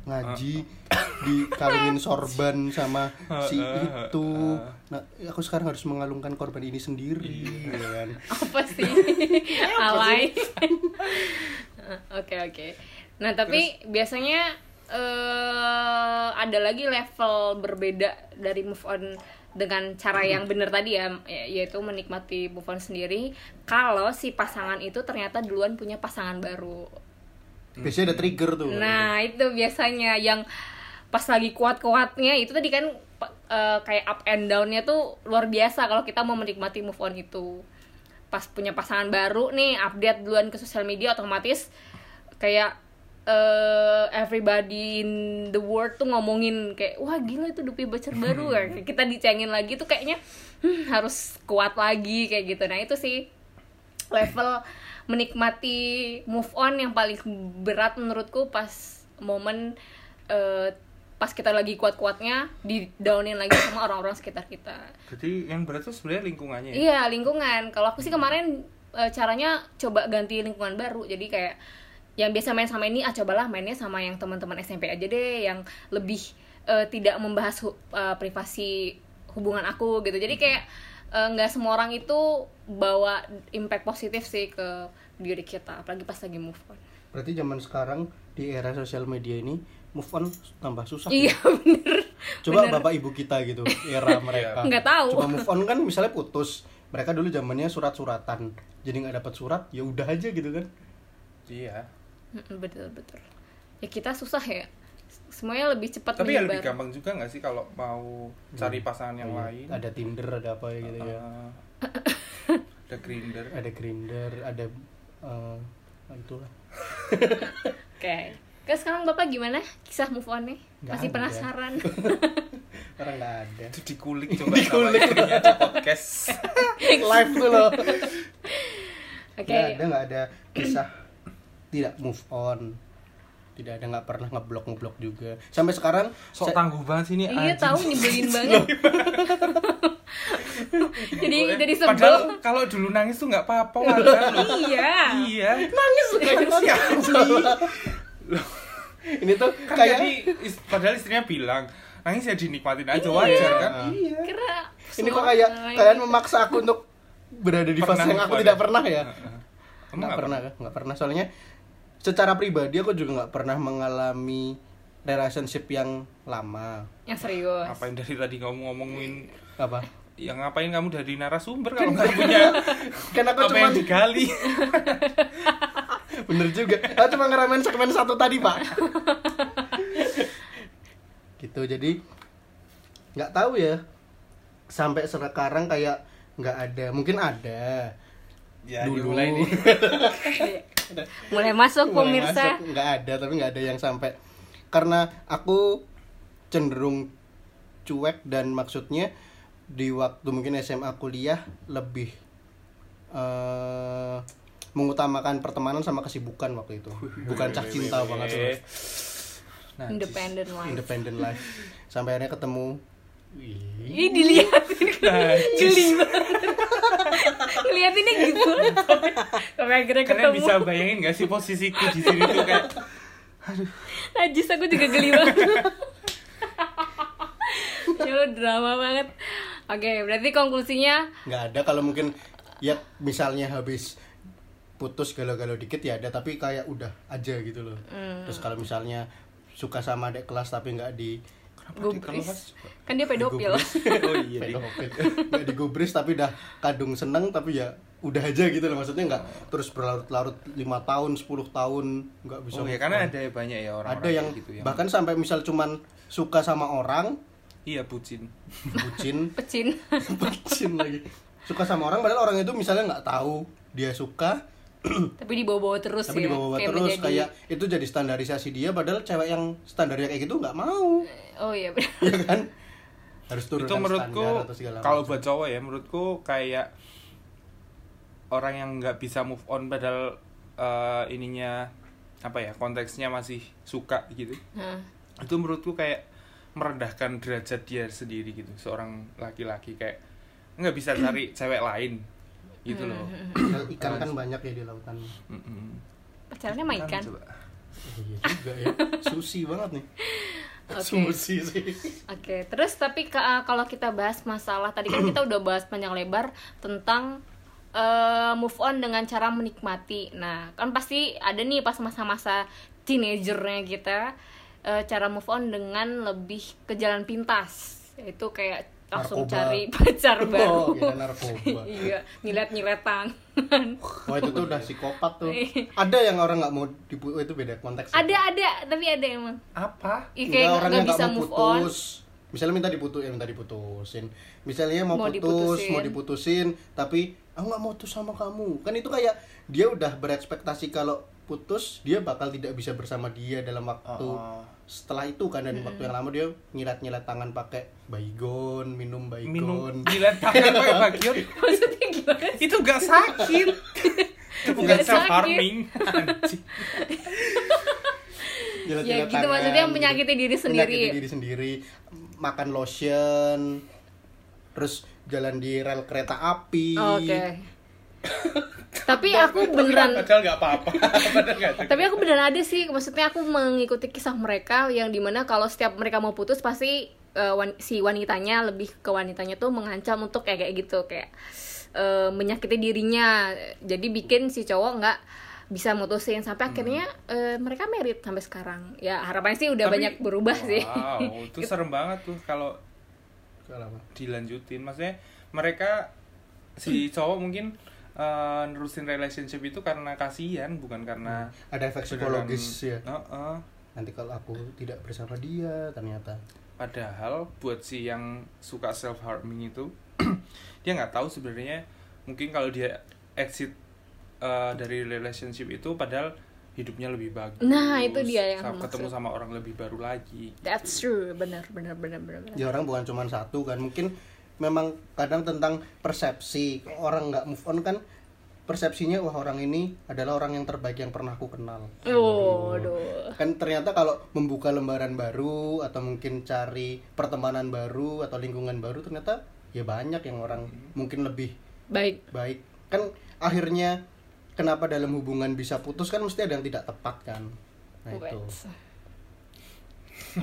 Speaker 1: ngaji
Speaker 2: Ah,
Speaker 1: dikawinin sorban sama si
Speaker 2: Heeh, heeh,
Speaker 1: itu
Speaker 2: ah.
Speaker 1: nah aku sekarang harus mengalungkan korban ini sendiri
Speaker 2: Iya.
Speaker 1: gitu kan
Speaker 3: apa sih alay oke oke nah tapi biasanya eh ada lagi level berbeda dari move on dengan cara yang benar tadi ya y- yaitu menikmati move on sendiri kalau si pasangan itu ternyata duluan punya pasangan baru
Speaker 1: biasanya ada trigger tuh
Speaker 3: Nah, itu biasanya yang pas lagi kuat-kuatnya itu tadi kan pa- eh, kayak up and down-nya tuh luar biasa kalau kita mau menikmati move on itu. Pas punya pasangan baru nih, update duluan ke sosial media otomatis kayak eh, everybody in the world tuh ngomongin kayak wah gila itu Dupi Becer baru Kayak kita dicengin lagi tuh kayaknya "Hmm, harus kuat lagi kayak gitu. Nah, itu sih level menikmati move on yang paling berat menurutku pas momen eh, pas kita lagi kuat-kuatnya di downin lagi sama orang-orang sekitar kita.
Speaker 2: jadi yang berat tuh sebenarnya lingkungannya ya?
Speaker 3: Iya, lingkungan. Kalau aku sih kemarin eh, caranya coba ganti lingkungan baru. Jadi kayak yang biasa main sama ini ah cobalah mainnya sama yang teman-teman SMP aja deh yang lebih eh, tidak membahas hu- eh, privasi hubungan aku gitu. Jadi kayak eh, nggak semua orang itu bawa impact positif sih ke diri kita, apalagi pas lagi move on.
Speaker 1: berarti zaman sekarang di era sosial media ini move on tambah susah ya?
Speaker 3: Iya, bener.
Speaker 1: Coba
Speaker 3: Bener.
Speaker 1: bapak ibu kita gitu, era mereka.
Speaker 3: Nggak tahu.
Speaker 1: Coba move on kan misalnya putus. Mereka dulu zamannya surat-suratan. Jadi nggak dapat surat, ya udah aja gitu kan.
Speaker 2: iya
Speaker 3: Mm-mm, Betul, betul. Ya kita susah ya. Semuanya lebih cepat
Speaker 2: tapi ya
Speaker 3: menyebar.
Speaker 2: lebih gampang juga nggak sih kalau mau cari pasangan yang lain
Speaker 1: Ada Tinder, Hmm. Iya. ada apa ya gitu ya.
Speaker 2: Eh, ada grinder
Speaker 1: Ada Grinder, ada eh, itulah.
Speaker 3: Oke. Terus sekarang Bapak gimana kisah move on-nya?
Speaker 1: Nggak
Speaker 3: Masih
Speaker 1: ada.
Speaker 3: penasaran?
Speaker 1: Orang nggak ada.
Speaker 2: itu dikulik coba sama istrinya di podcast
Speaker 1: Live tuh loh.
Speaker 3: Oke. iya.
Speaker 1: Nggak ada nggak ada kisah tidak move on. Tidak ada nggak pernah ngeblok ngeblok juga. Sampai sekarang
Speaker 2: sok
Speaker 1: saya-
Speaker 2: tangguh banget sini anjing.
Speaker 3: Iya tahu nyebelin banget.
Speaker 1: iya.
Speaker 3: jadi jadi sebel.
Speaker 2: Padahal kalau dulu nangis tuh nggak apa-apa wajar loh.
Speaker 3: iya.
Speaker 2: iya.
Speaker 3: Nangis
Speaker 2: Nangis ya.
Speaker 1: ini tuh
Speaker 2: Kan
Speaker 1: kayak
Speaker 2: jadi is- padahal istrinya bilang nangis ya dinikmatin aja wajar kan.
Speaker 1: Iya.
Speaker 3: Karena
Speaker 1: Ini
Speaker 3: semua
Speaker 1: kok kayak
Speaker 3: orang
Speaker 1: kalian
Speaker 3: lain-
Speaker 1: memaksa aku untuk berada di
Speaker 2: Pernah
Speaker 1: fase yang aku
Speaker 2: move on
Speaker 1: tidak
Speaker 2: ya?
Speaker 1: pernah ya?
Speaker 2: Emang
Speaker 1: Nggak
Speaker 2: nggak
Speaker 1: pernah, nggak pernah. Soalnya secara pribadi aku juga nggak pernah mengalami relationship yang lama.
Speaker 3: yang serius.
Speaker 2: Ngapain dari tadi kamu ngomongin
Speaker 1: Apa?
Speaker 2: yang ngapain kamu dari narasumber kalau nggak punya
Speaker 1: Kan aku
Speaker 2: apa
Speaker 1: cuma
Speaker 2: yang digali
Speaker 1: bener juga. Aku cuma ngeramen segmen satu tadi pak. gitu jadi nggak tahu ya sampai sekarang kayak nggak ada mungkin ada
Speaker 2: ya
Speaker 1: dulu
Speaker 2: dimulai nih
Speaker 3: Mulai masuk
Speaker 1: Mulai
Speaker 3: gitu, pemirsa.
Speaker 1: masuk, iya. nggak ada tapi nggak ada yang sampai karena aku cenderung cuek dan maksudnya di waktu mungkin SMA kuliah lebih eh mengutamakan pertemanan sama kesibukan waktu itu bukan cah cinta banget
Speaker 2: Eh,
Speaker 1: terus
Speaker 2: nah,
Speaker 3: Independent life.
Speaker 1: independent life sampai akhirnya ketemu Ih,
Speaker 3: Ih dilihatin
Speaker 2: nah,
Speaker 3: geli banget. Ngeliatinnya gitu. Sampai akhirnya
Speaker 2: kalian
Speaker 3: ketemu.
Speaker 2: bisa bayangin nggak sih posisiku di sini tuh kayak
Speaker 3: Najis aku juga geli banget. ya lu drama banget. Oke, berarti konklusinya
Speaker 1: nggak ada kalau mungkin ya misalnya habis putus galau-galau dikit ya ada tapi kayak udah aja gitu loh
Speaker 2: Hmm.
Speaker 1: terus kalau misalnya suka sama adek kelas tapi nggak di
Speaker 3: gubris. Kan dia pedofil.
Speaker 1: digubris.
Speaker 2: oh iya
Speaker 1: pedofil nggak digubris tapi udah kadung seneng tapi ya udah aja gitu loh maksudnya nggak terus berlarut-larut lima tahun 10 tahun nggak bisa
Speaker 2: oh ya
Speaker 1: move
Speaker 2: karena
Speaker 1: on.
Speaker 2: ada banyak ya orang,
Speaker 1: ada yang
Speaker 2: gitu yang
Speaker 1: bahkan sampai misal cuman suka sama orang
Speaker 2: iya bucin
Speaker 1: bucin
Speaker 3: Pecin.
Speaker 1: bucin lagi suka sama orang padahal orang itu misalnya nggak tahu dia suka
Speaker 3: Tapi dibawa-bawa terus
Speaker 1: tapi
Speaker 3: ya.
Speaker 1: dibawa-bawa
Speaker 3: kayak
Speaker 1: terus
Speaker 3: menjadi-
Speaker 1: kayak itu jadi standarisasi dia padahal cewek yang standarnya kayak gitu nggak mau
Speaker 3: Oh iya benar.
Speaker 1: ya kan harus turun
Speaker 2: itu menurutku kalau buat cowok ya menurutku kayak orang yang nggak bisa move on padahal eh, ininya apa ya konteksnya masih suka gitu
Speaker 3: Nah,
Speaker 2: itu menurutku kayak merendahkan derajat dia sendiri gitu seorang laki-laki kayak nggak bisa cari cewek lain gitu loh
Speaker 3: Hmm.
Speaker 1: ikan kan banyak ya di lautan
Speaker 2: Mm-mm.
Speaker 3: pacarnya sama ikan.
Speaker 2: Coba.
Speaker 1: iya juga ya susi banget nih
Speaker 3: Oke.
Speaker 1: susi sih
Speaker 3: Oke, terus tapi ke- uh, kalau kita bahas masalah tadi kan kita udah bahas panjang lebar tentang uh, move on dengan cara menikmati. Nah, kan pasti ada nih pas masa-masa teenagernya kita uh, cara move on dengan lebih ke jalan pintas. Itu kayak langsung
Speaker 1: Narkoba.
Speaker 3: cari pacar baru.
Speaker 1: oh gila narkoba
Speaker 3: iya, nyilet-nyiletan.
Speaker 1: Wah itu tuh udah psikopat tuh. Ada yang orang nggak mau dipu oh, itu beda konteks.
Speaker 3: Iya. ada ada, tapi ada emang.
Speaker 2: apa
Speaker 3: Ih,
Speaker 1: Enggak,
Speaker 3: Iya, kayak
Speaker 1: orang
Speaker 3: nggak
Speaker 1: yang
Speaker 3: bisa
Speaker 1: nggak mau
Speaker 3: move on.
Speaker 1: putus. Misalnya minta diputusin, minta diputusin. Misalnya mau,
Speaker 3: Mau
Speaker 1: putus,
Speaker 3: diputusin.
Speaker 1: mau diputusin, tapi aku nggak mau putus sama kamu. Kan itu kayak dia udah berekspektasi kalau putus dia bakal tidak bisa bersama dia dalam waktu
Speaker 2: Oh.
Speaker 1: setelah itu kan dan waktu yang lama dia nyilat-nyilat tangan pakai baygon, minum baygon.
Speaker 2: minum gila tangan pakai bagian
Speaker 3: Maksudnya gimana?
Speaker 2: itu gak sakit itu bukan
Speaker 3: Nggak
Speaker 2: self
Speaker 3: sakit.
Speaker 2: harming Anjing.
Speaker 1: Jilat-jilat
Speaker 3: Ya, gitu, maksudnya menyakiti diri sendiri.
Speaker 1: Menyakiti diri sendiri. Makan lotion. Terus jalan di rel kereta api.
Speaker 3: Oke. tapi aku beneran
Speaker 2: padahal gak apa-apa padahal gak sakit.
Speaker 3: tapi aku beneran ada sih maksudnya aku mengikuti kisah mereka yang dimana kalau setiap mereka mau putus pasti eh, wan- si wanitanya lebih ke wanitanya tuh mengancam untuk kayak kayak gitu kayak eh, menyakiti dirinya jadi bikin si cowok nggak bisa mutusin sampai akhirnya eh, mereka merit sampai sekarang ya harapannya sih udah
Speaker 2: Tapi-
Speaker 3: banyak berubah sih Gitu.
Speaker 2: wow itu serem banget tuh kalau
Speaker 1: Kalau apa?
Speaker 2: dilanjutin maksudnya mereka si cowok mungkin eh, nerusin relationship itu karena kasihan bukan karena
Speaker 1: Ada efek Hmm.
Speaker 2: beneran-
Speaker 1: psikologis ya.
Speaker 2: Heeh.
Speaker 1: Nanti kalau aku tidak bersama dia ternyata.
Speaker 2: padahal buat si yang suka self harming itu dia nggak tahu sebenarnya mungkin kalau dia exit eh, dari relationship itu padahal hidupnya lebih bagus
Speaker 3: Nah, itu dia yang
Speaker 2: Sa-
Speaker 3: aku
Speaker 2: ketemu
Speaker 3: maksud.
Speaker 2: sama orang lebih baru lagi
Speaker 3: that's true bener bener bener bener, bener.
Speaker 1: Ya orang bukan cuma satu kan. Mungkin memang kadang tentang persepsi. Orang nggak move on kan persepsinya wah orang ini adalah orang yang terbaik yang pernah aku kenal.
Speaker 3: Oh, aduh.
Speaker 1: kan ternyata kalau membuka lembaran baru atau mungkin cari pertemanan baru atau lingkungan baru ternyata ya banyak yang orang mungkin lebih
Speaker 3: baik
Speaker 1: baik kan akhirnya kenapa dalam hubungan bisa putus kan mesti ada yang tidak tepat kan nah itu
Speaker 3: Wets.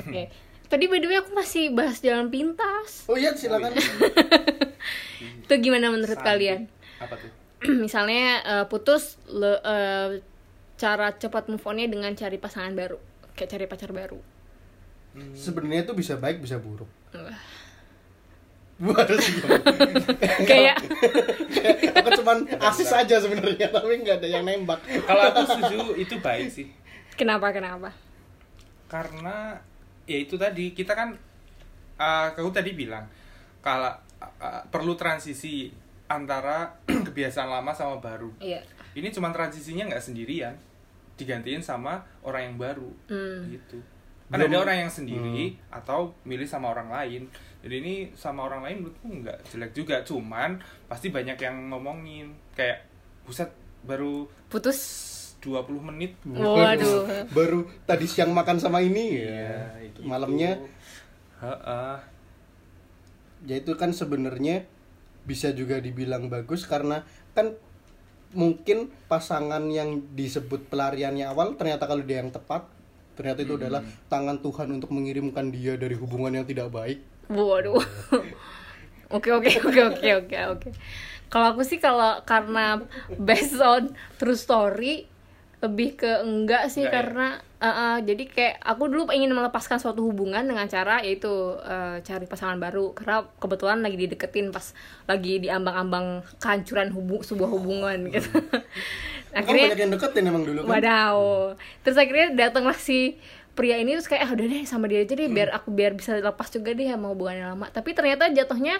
Speaker 3: Oke. Tadi by the way aku masih bahas jalan pintas.
Speaker 1: oh iya silakan
Speaker 3: Itu gimana menurut
Speaker 2: Santai.
Speaker 3: kalian?
Speaker 2: apa tuh
Speaker 3: Misalnya eh, putus le- eh, cara cepat move on-nya dengan cari pasangan baru, kayak cari pacar baru.
Speaker 1: sebenarnya itu bisa baik bisa buruk
Speaker 3: Wah.
Speaker 1: Waduh, sih,
Speaker 3: kayak
Speaker 1: aku cuman asis aja sebenarnya tapi nggak ada yang nembak
Speaker 2: kalau aku setuju itu baik sih
Speaker 3: kenapa kenapa?
Speaker 2: karena ya itu tadi kita kan eh kau tadi bilang kalau eh, perlu transisi antara kebiasaan lama sama baru
Speaker 3: Iya.
Speaker 2: ini cuma transisinya nggak sendirian digantiin sama orang yang baru
Speaker 3: Hmm.
Speaker 2: gitu kan
Speaker 1: Belum- Hmm.
Speaker 2: ada orang yang sendiri atau milih sama orang lain jadi ini sama orang lain menurutku nggak jelek juga cuman pasti banyak yang ngomongin kayak buset baru
Speaker 3: Putus
Speaker 2: 20 menit
Speaker 3: Waduh.
Speaker 1: baru tadi siang makan sama ini
Speaker 2: Iya,
Speaker 1: ya
Speaker 2: itu-
Speaker 1: malamnya
Speaker 2: Heeh.
Speaker 1: ya itu kan sebenarnya bisa juga dibilang bagus karena kan mungkin pasangan yang disebut pelariannya awal ternyata kalau dia yang tepat ternyata itu adalah tangan Tuhan untuk mengirimkan dia dari hubungan yang tidak baik
Speaker 3: Waduh. Oke oke oke oke oke oke. Kalau aku sih kalau karena based on true story lebih ke enggak sih
Speaker 2: Enggak ya?
Speaker 3: karena eh, eh, jadi kayak aku dulu ingin melepaskan suatu hubungan dengan cara yaitu eh, cari pasangan baru karena kebetulan lagi dideketin pas lagi di ambang-ambang kehancuran hubu- sebuah hubungan gitu.
Speaker 1: Hmm. Kamu
Speaker 3: Akhirnya
Speaker 1: Kan banyak yang deketin emang dulu kan?
Speaker 3: Wadaw. Terus akhirnya datanglah si pria ini terus kayak ah udah deh sama dia aja deh biar aku biar bisa lepas juga deh sama hubungannya lama. Tapi ternyata jatuhnya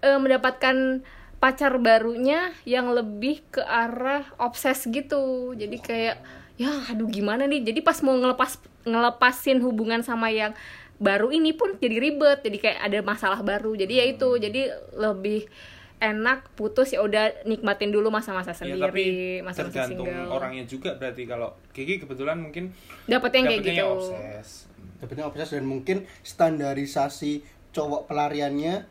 Speaker 3: eh, mendapatkan pacar barunya yang lebih ke arah obses gitu. Jadi kayak ya aduh gimana nih. Jadi pas mau ngelepas ngelepasin hubungan sama yang baru ini pun jadi ribet. Jadi kayak ada masalah baru. Jadi ya itu. Jadi lebih enak putus ya udah nikmatin dulu masa-masa
Speaker 2: Ya,
Speaker 3: sendiri
Speaker 2: tapi
Speaker 3: masa-masa
Speaker 2: tergantung
Speaker 3: single
Speaker 2: orangnya juga berarti kalau Kiki kebetulan mungkin
Speaker 3: dapat yang kayak
Speaker 2: dapetnya
Speaker 3: gitu
Speaker 2: yang obses.
Speaker 1: Dapetnya obses dan mungkin standarisasi cowok pelariannya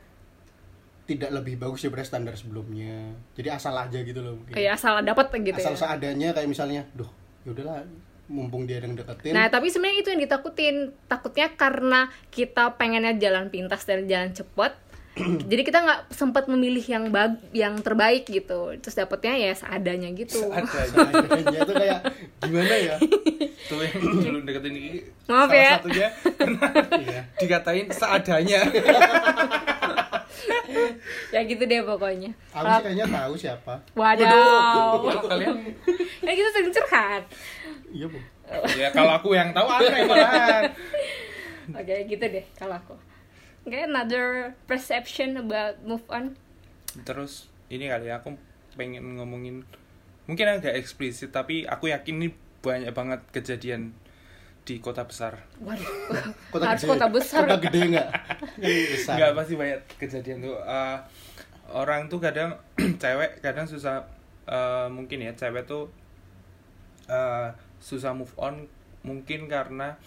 Speaker 1: tidak lebih bagus daripada standar sebelumnya. Jadi asal aja gitu loh mungkin.
Speaker 3: kayak asal dapat gitu
Speaker 1: asal
Speaker 3: ya
Speaker 1: seadanya kayak misalnya, duh, yaudahlah mumpung dia ada yang deketin.
Speaker 3: nah tapi sebenarnya itu yang ditakutin takutnya karena kita pengennya jalan pintas dan jalan cepet jadi kita nggak sempat memilih yang bag yang terbaik gitu terus dapatnya ya seadanya gitu
Speaker 2: Seadanya.
Speaker 1: seadanya itu kayak gimana
Speaker 3: Iya.
Speaker 1: ya?
Speaker 2: Tuh yang dulu deketin Kiki.
Speaker 3: Maaf
Speaker 2: salah
Speaker 3: ya.
Speaker 2: satunya
Speaker 1: Iya.
Speaker 2: dikatain seadanya.
Speaker 3: ya gitu deh pokoknya
Speaker 1: Aku sih kayaknya tahu siapa.
Speaker 3: Waduh,
Speaker 2: Kalau kalian
Speaker 3: ya kita sering curhat.
Speaker 1: Iya, Bu.
Speaker 2: ya kalau aku yang tahu aneh malahan.
Speaker 3: Oke, gitu deh kalau aku. Oke, another perception about move on.
Speaker 2: Terus ini kali ya, aku pengen ngomongin mungkin agak eksplisit tapi aku yakin ini banyak banget kejadian di kota besar.
Speaker 3: Waduh, harus kota besar.
Speaker 1: Kota gede enggak? besar.
Speaker 2: Enggak pasti banyak kejadian tuh. Eh, orang tuh kadang cewek kadang susah eh, mungkin ya cewek tuh eh, susah move on mungkin karena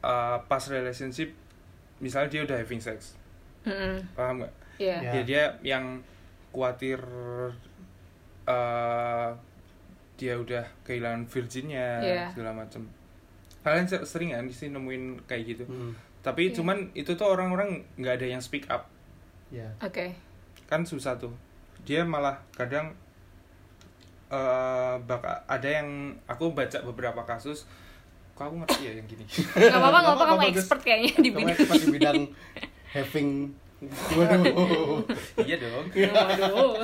Speaker 2: eh, pas relationship misalnya dia udah having sex.
Speaker 3: Mm-mm,
Speaker 2: Paham nggak?
Speaker 3: Iya.
Speaker 1: Ya.
Speaker 2: Ya. dia yang khawatir eh, dia udah kehilangan virginnya
Speaker 3: Iya.
Speaker 2: segala macam. Kalian se- sering nggak sih nemuin kayak gitu?
Speaker 1: Hmm,
Speaker 2: Tapi
Speaker 3: Iya.
Speaker 2: cuman itu tuh orang-orang nggak ada yang speak up
Speaker 1: ya.
Speaker 3: Oke.
Speaker 2: kan susah tuh. Dia malah kadang eh baka- ada yang aku baca beberapa kasus. Kok aku ngerti ya yang gini.
Speaker 3: Gak apa-apa, gak
Speaker 1: Nggak
Speaker 3: apa-apa kamu
Speaker 1: apa-apa, Gus.
Speaker 3: expert kayaknya di
Speaker 1: Kamu
Speaker 3: bidang.
Speaker 1: expert di bidang having Waduh.
Speaker 2: iya dong.
Speaker 3: Waduh.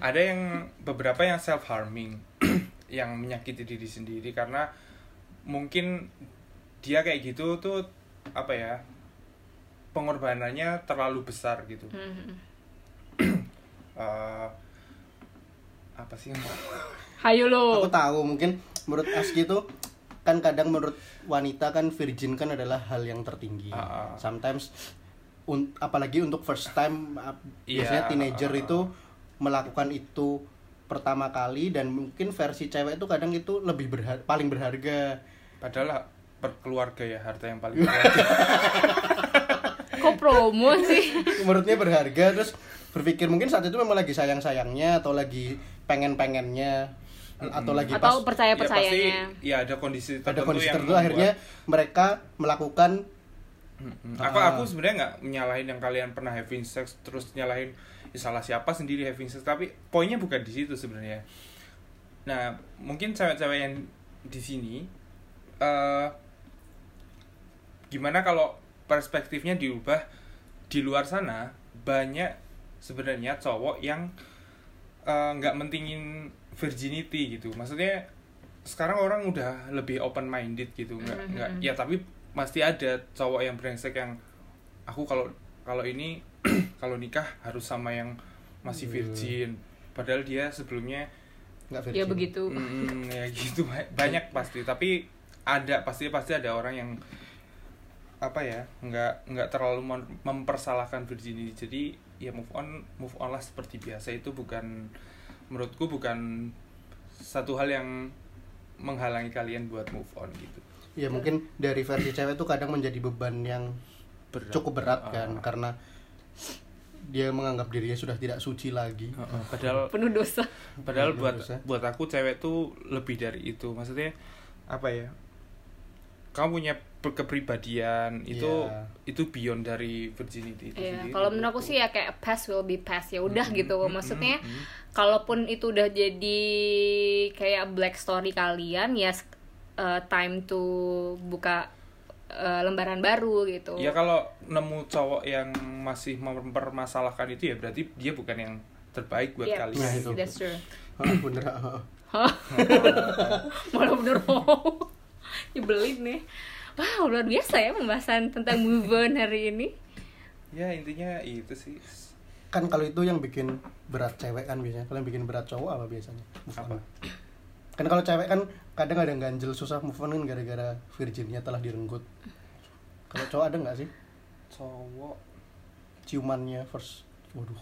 Speaker 2: ada yang beberapa yang self harming yang menyakiti diri sendiri karena mungkin dia kayak gitu tuh apa ya pengorbanannya terlalu besar gitu
Speaker 3: Hmm.
Speaker 2: Eh, apa sih yang-
Speaker 3: Hayo lo.
Speaker 2: Oh.
Speaker 1: Aku tahu mungkin menurut Aski itu kan kadang menurut wanita kan virgin kan adalah hal yang tertinggi.
Speaker 2: Ah, ah.
Speaker 1: Sometimes un- apalagi untuk first time ap-
Speaker 2: Iya,
Speaker 1: biasanya teenager
Speaker 2: ah, ah.
Speaker 1: itu melakukan itu pertama kali dan mungkin versi cewek itu kadang itu lebih berha- paling berharga.
Speaker 2: padahal berkeluarga ya harta yang paling berharga.
Speaker 3: Kok promo sih?
Speaker 1: menurutnya berharga terus berpikir mungkin saat itu memang lagi sayang-sayangnya atau lagi pengen-pengennya atau lagi pas
Speaker 3: Atau percaya-percayanya.
Speaker 2: ya pasti ya ada kondisi Hmm. tertentu
Speaker 1: ada kondisi
Speaker 2: yang
Speaker 1: tertentu
Speaker 2: membuat-
Speaker 1: akhirnya mereka melakukan
Speaker 2: Mm-mm. aku
Speaker 1: Ah.
Speaker 2: aku sebenarnya nggak nyalahin yang kalian pernah having sex terus nyalahin "Ih, salah siapa sendiri having sex tapi poinnya bukan di situ sebenarnya nah mungkin cewek-cewek yang di sini eh gimana kalau perspektifnya diubah di luar sana banyak sebenarnya cowok yang eh, nggak mentingin virginity gitu maksudnya sekarang orang udah lebih open minded gitu nggak
Speaker 3: Mhm.
Speaker 2: nggak ya tapi pasti ada cowok yang brengsek yang aku kalau kalau ini kalau nikah harus sama yang masih virgin padahal dia sebelumnya
Speaker 1: nggak virgin.
Speaker 3: Ya begitu.
Speaker 2: mm, ya gitu ba- banyak pasti tapi ada pasti pasti ada orang yang apa ya nggak nggak terlalu mem- mempersalahkan virginity jadi ya move on move on lah seperti biasa itu bukan menurutku bukan satu hal yang menghalangi kalian buat move on gitu
Speaker 1: Ya mungkin dari versi cewek itu kadang menjadi beban yang
Speaker 2: Berat.
Speaker 1: cukup berat kan
Speaker 2: Ah.
Speaker 1: karena dia menganggap dirinya sudah tidak suci lagi.
Speaker 2: Heeh, padahal
Speaker 3: Penuh dosa.
Speaker 2: padahal
Speaker 1: Iya,
Speaker 2: buat
Speaker 1: bagus ya.
Speaker 2: buat aku cewek tuh lebih dari itu maksudnya apa ya kamu punya pe- kepribadian itu
Speaker 1: Iya.
Speaker 2: itu beyond dari virginity itu
Speaker 3: Iya,
Speaker 2: sendiri.
Speaker 3: kalau menurut aku sih ya kayak past will be past ya udah
Speaker 2: Mm-mm,
Speaker 3: gitu.
Speaker 2: mm-mm,
Speaker 3: Maksudnya
Speaker 2: mm-mm.
Speaker 3: kalaupun itu udah jadi kayak black story kalian ya s- eh, time to buka eh, lembaran baru gitu.
Speaker 2: Ya kalau nemu cowok yang masih mempermasalahkan itu ya berarti dia bukan yang terbaik buat
Speaker 3: Iya,
Speaker 2: kalian.
Speaker 1: Nah, itu.
Speaker 3: That's true.
Speaker 1: Ah, bener ah.
Speaker 3: Malah bener Nyebelin nih. Wow, luar biasa ya pembahasan tentang move on hari ini.
Speaker 2: Ya intinya itu sih.
Speaker 1: kan kalau itu yang bikin berat cewek kan biasanya kalau yang bikin berat cowok apa biasanya Move on.
Speaker 2: Apa?
Speaker 1: kan kalau cewek kan kadang ada yang ganjel susah move on kan gara-gara virginnya telah direnggut kalau cowok ada nggak sih
Speaker 2: Cowok
Speaker 1: ciumannya first waduh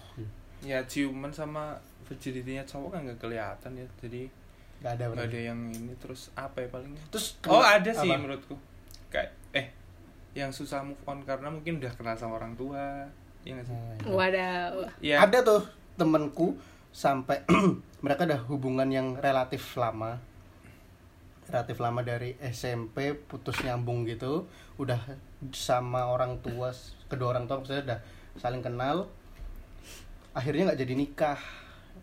Speaker 2: ya ciuman sama virginity-nya cowok kan nggak kelihatan ya. Jadi
Speaker 1: Iya, nggak ada
Speaker 2: nggak ada
Speaker 1: berarti
Speaker 2: yang ini terus apa ya palingnya?
Speaker 1: terus
Speaker 2: Oh
Speaker 1: kenapa-
Speaker 2: ada sih
Speaker 1: apa?
Speaker 2: menurutku. Kayak eh yang susah move on karena mungkin udah kenal sama orang tua. Ya nggak sih?
Speaker 1: Nah, itu.
Speaker 3: Wadaw.
Speaker 2: Ya.
Speaker 1: ada tuh temenku sampai mereka ada hubungan yang relatif lama relatif lama dari SMP putus nyambung gitu udah sama orang tua kedua orang tua maksudnya udah saling kenal akhirnya nggak jadi nikah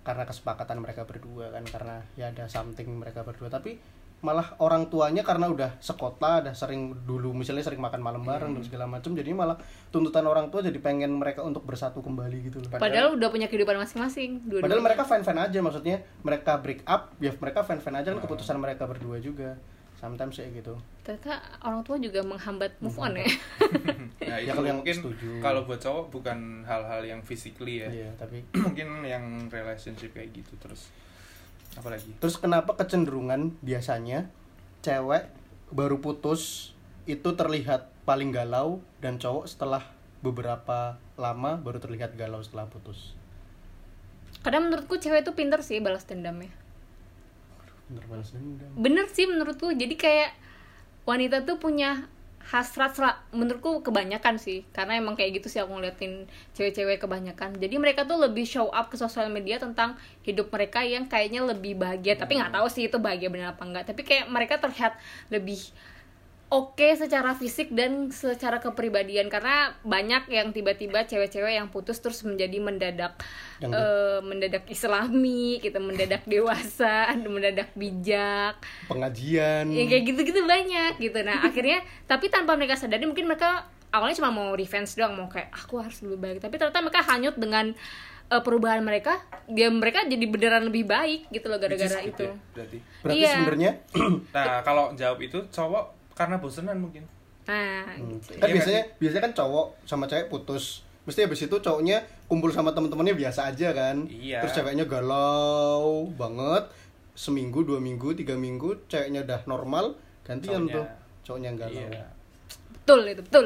Speaker 1: karena kesepakatan mereka berdua kan karena ya ada something mereka berdua tapi malah orang tuanya karena udah sekota udah sering dulu misalnya sering makan malam bareng dan segala macam jadi malah tuntutan orang tua jadi pengen mereka untuk bersatu kembali gitu loh
Speaker 3: Padahal udah punya kehidupan masing-masing. dua-duanya.
Speaker 1: Padahal mereka fan-fan aja maksudnya mereka break up ya mereka fan-fan aja kan keputusan mereka berdua juga sometimes ya gitu
Speaker 3: ternyata orang tua juga menghambat move on ya.
Speaker 2: Nah,
Speaker 1: Ya,
Speaker 2: itu
Speaker 1: kalau yang
Speaker 2: mungkin
Speaker 1: setuju.
Speaker 2: kalau buat cowok bukan hal-hal yang physically ya.
Speaker 1: Iya, tapi
Speaker 2: mungkin yang relationship kayak gitu terus apalagi
Speaker 1: terus kenapa kecenderungan biasanya cewek baru putus itu terlihat paling galau dan cowok setelah beberapa lama baru terlihat galau setelah putus
Speaker 3: Kadang menurutku cewek tuh pinter sih balas dendamnya.
Speaker 1: bener balas dendam
Speaker 3: Bener sih menurutku. Jadi kayak wanita tuh punya hasrat sel- menurutku kebanyakan sih karena emang kayak gitu sih aku ngeliatin cewek-cewek kebanyakan jadi mereka tuh lebih show up ke sosial media tentang hidup mereka yang kayaknya lebih bahagia tapi nggak tahu sih itu bahagia bener apa enggak tapi kayak mereka terlihat lebih oke secara fisik dan secara kepribadian karena banyak yang tiba-tiba cewek-cewek yang putus terus menjadi mendadak
Speaker 1: Yang
Speaker 3: eh, mendadak islami gitu mendadak dewasa mendadak bijak
Speaker 1: pengajian
Speaker 3: ya kayak gitu-gitu banyak gitu nah akhirnya tapi tanpa mereka sadari mungkin mereka awalnya cuma mau revenge doang mau kayak aku harus lebih baik tapi ternyata mereka hanyut dengan eh, perubahan mereka dia mereka jadi beneran lebih baik gitu loh
Speaker 2: Which is
Speaker 3: gara-gara
Speaker 2: good
Speaker 3: itu
Speaker 2: ya, berarti
Speaker 1: berarti
Speaker 3: iya.
Speaker 1: sebenarnya
Speaker 2: nah kalau jawab itu cowok karena bosenan mungkin
Speaker 3: nah
Speaker 1: Hmm.
Speaker 3: gitu
Speaker 1: Kan
Speaker 2: Iya
Speaker 1: biasanya biasanya kan cowok sama cewek putus. Mesti habis itu cowoknya kumpul sama temen-temennya biasa aja kan.
Speaker 2: Iya.
Speaker 1: Terus ceweknya galau banget. Seminggu, dua minggu, tiga minggu ceweknya udah normal, gantian
Speaker 2: Cowoknya.
Speaker 1: tuh cowoknya yang galau.
Speaker 2: iya
Speaker 3: betul itu betul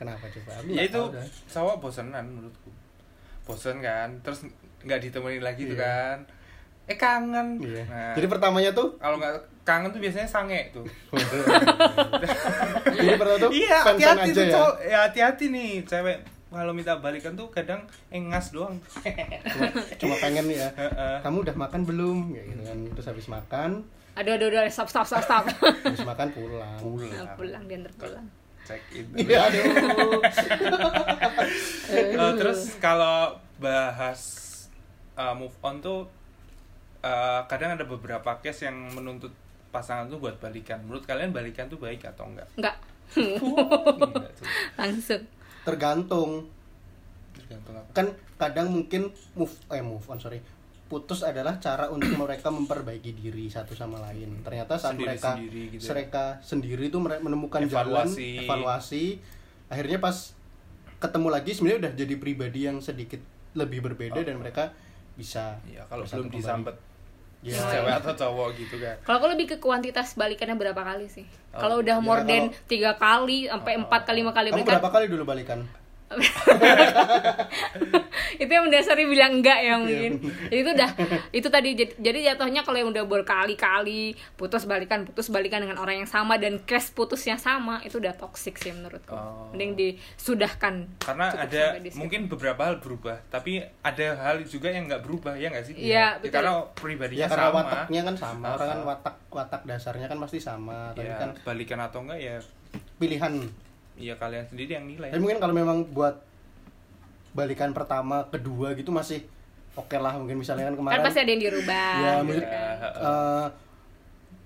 Speaker 1: Kenapa coba? Aku
Speaker 2: ya
Speaker 1: nggak
Speaker 2: itu
Speaker 1: tahu kan? dah.
Speaker 2: cowok bosenan menurutku bosen kan terus nggak ditemenin lagi tuh
Speaker 1: Iya.
Speaker 2: kan eh kangen
Speaker 1: Iya.
Speaker 2: nah,
Speaker 1: Jadi pertamanya tuh
Speaker 2: kalau nggak kangen tuh biasanya sange tuh
Speaker 1: Jadi pertama tuh
Speaker 2: iya
Speaker 1: fan-fan
Speaker 2: hati-hati
Speaker 1: aja
Speaker 2: tuh
Speaker 1: ya.
Speaker 2: cowok ya hati-hati nih cewek kalau minta balikan tuh kadang engas doang
Speaker 1: Cuma, cuma pengen ya.
Speaker 2: Heeh.
Speaker 1: Kamu udah makan belum? Kayak gitu kan. Terus habis makan,
Speaker 3: aduh aduh aduh stop stop stop stop
Speaker 1: habis makan pulang.
Speaker 2: Ya,
Speaker 3: Nah, pulang diantar pulang
Speaker 2: check in
Speaker 1: Iya, aduh.
Speaker 2: Eh, terus kalau bahas eh, move on tuh eh, kadang ada beberapa case yang menuntut pasangan tuh buat balikan. Menurut kalian balikan tuh baik atau enggak?
Speaker 3: enggak
Speaker 2: Enggak tuh.
Speaker 3: langsung
Speaker 1: Tergantung
Speaker 2: Tergantung apa.
Speaker 1: kan kadang mungkin move eh move on sorry putus adalah cara untuk mereka memperbaiki diri satu sama lain ternyata saat
Speaker 2: Sendiri-
Speaker 1: mereka
Speaker 2: sendiri gitu ya.
Speaker 1: mereka sendiri itu mere- menemukan
Speaker 2: Evaluasi.
Speaker 1: jalan evaluasi akhirnya pas ketemu lagi sebenarnya udah jadi pribadi yang sedikit lebih berbeda
Speaker 2: Oh.
Speaker 1: dan mereka bisa
Speaker 2: Ya kalau
Speaker 1: bersatu
Speaker 2: belum
Speaker 1: kembali.
Speaker 2: disambet
Speaker 1: Iya.
Speaker 2: cewek atau cowok gitu kan.
Speaker 3: Kalau aku lebih ke kuantitas balikannya berapa kali sih?
Speaker 2: Oh,
Speaker 3: Kalau
Speaker 1: ya
Speaker 3: udah more than
Speaker 1: kalau-
Speaker 3: tiga kali sampai empat kali lima kali
Speaker 1: kamu
Speaker 3: balikan,
Speaker 1: berapa kali dulu balikan
Speaker 3: itu yang mendasari bilang enggak
Speaker 1: Iya.
Speaker 3: ya mungkin jadi itu udah itu tadi jad- jadi jatuhnya kalau yang udah berkali-kali putus balikan putus balikan dengan orang yang sama dan crash putusnya sama itu udah toxic sih menurutku
Speaker 2: Oh.
Speaker 3: mending disudahkan Kan
Speaker 2: karena
Speaker 3: Cukup
Speaker 2: ada
Speaker 3: sampai di situ.
Speaker 2: mungkin beberapa hal berubah tapi ada hal juga yang nggak berubah ya nggak sih
Speaker 3: Iya,
Speaker 2: Ya,
Speaker 3: betul.
Speaker 2: karena
Speaker 1: ya
Speaker 2: pribadinya
Speaker 1: karena
Speaker 2: sama
Speaker 1: wataknya kan sama orang kan
Speaker 2: Sama.
Speaker 1: watak watak dasarnya kan pasti sama tapi
Speaker 2: ya
Speaker 1: kan
Speaker 2: balikan atau enggak ya
Speaker 1: pilihan
Speaker 2: ya kalian sendiri yang nilai
Speaker 1: dan
Speaker 2: Ya,
Speaker 1: mungkin kalau memang buat balikan pertama kedua gitu masih oke lah mungkin misalnya kan
Speaker 3: kan
Speaker 1: kemarin
Speaker 3: pasti ada yang dirubah
Speaker 1: Ya,
Speaker 3: gitu
Speaker 1: maksud-
Speaker 3: kan.
Speaker 1: eh,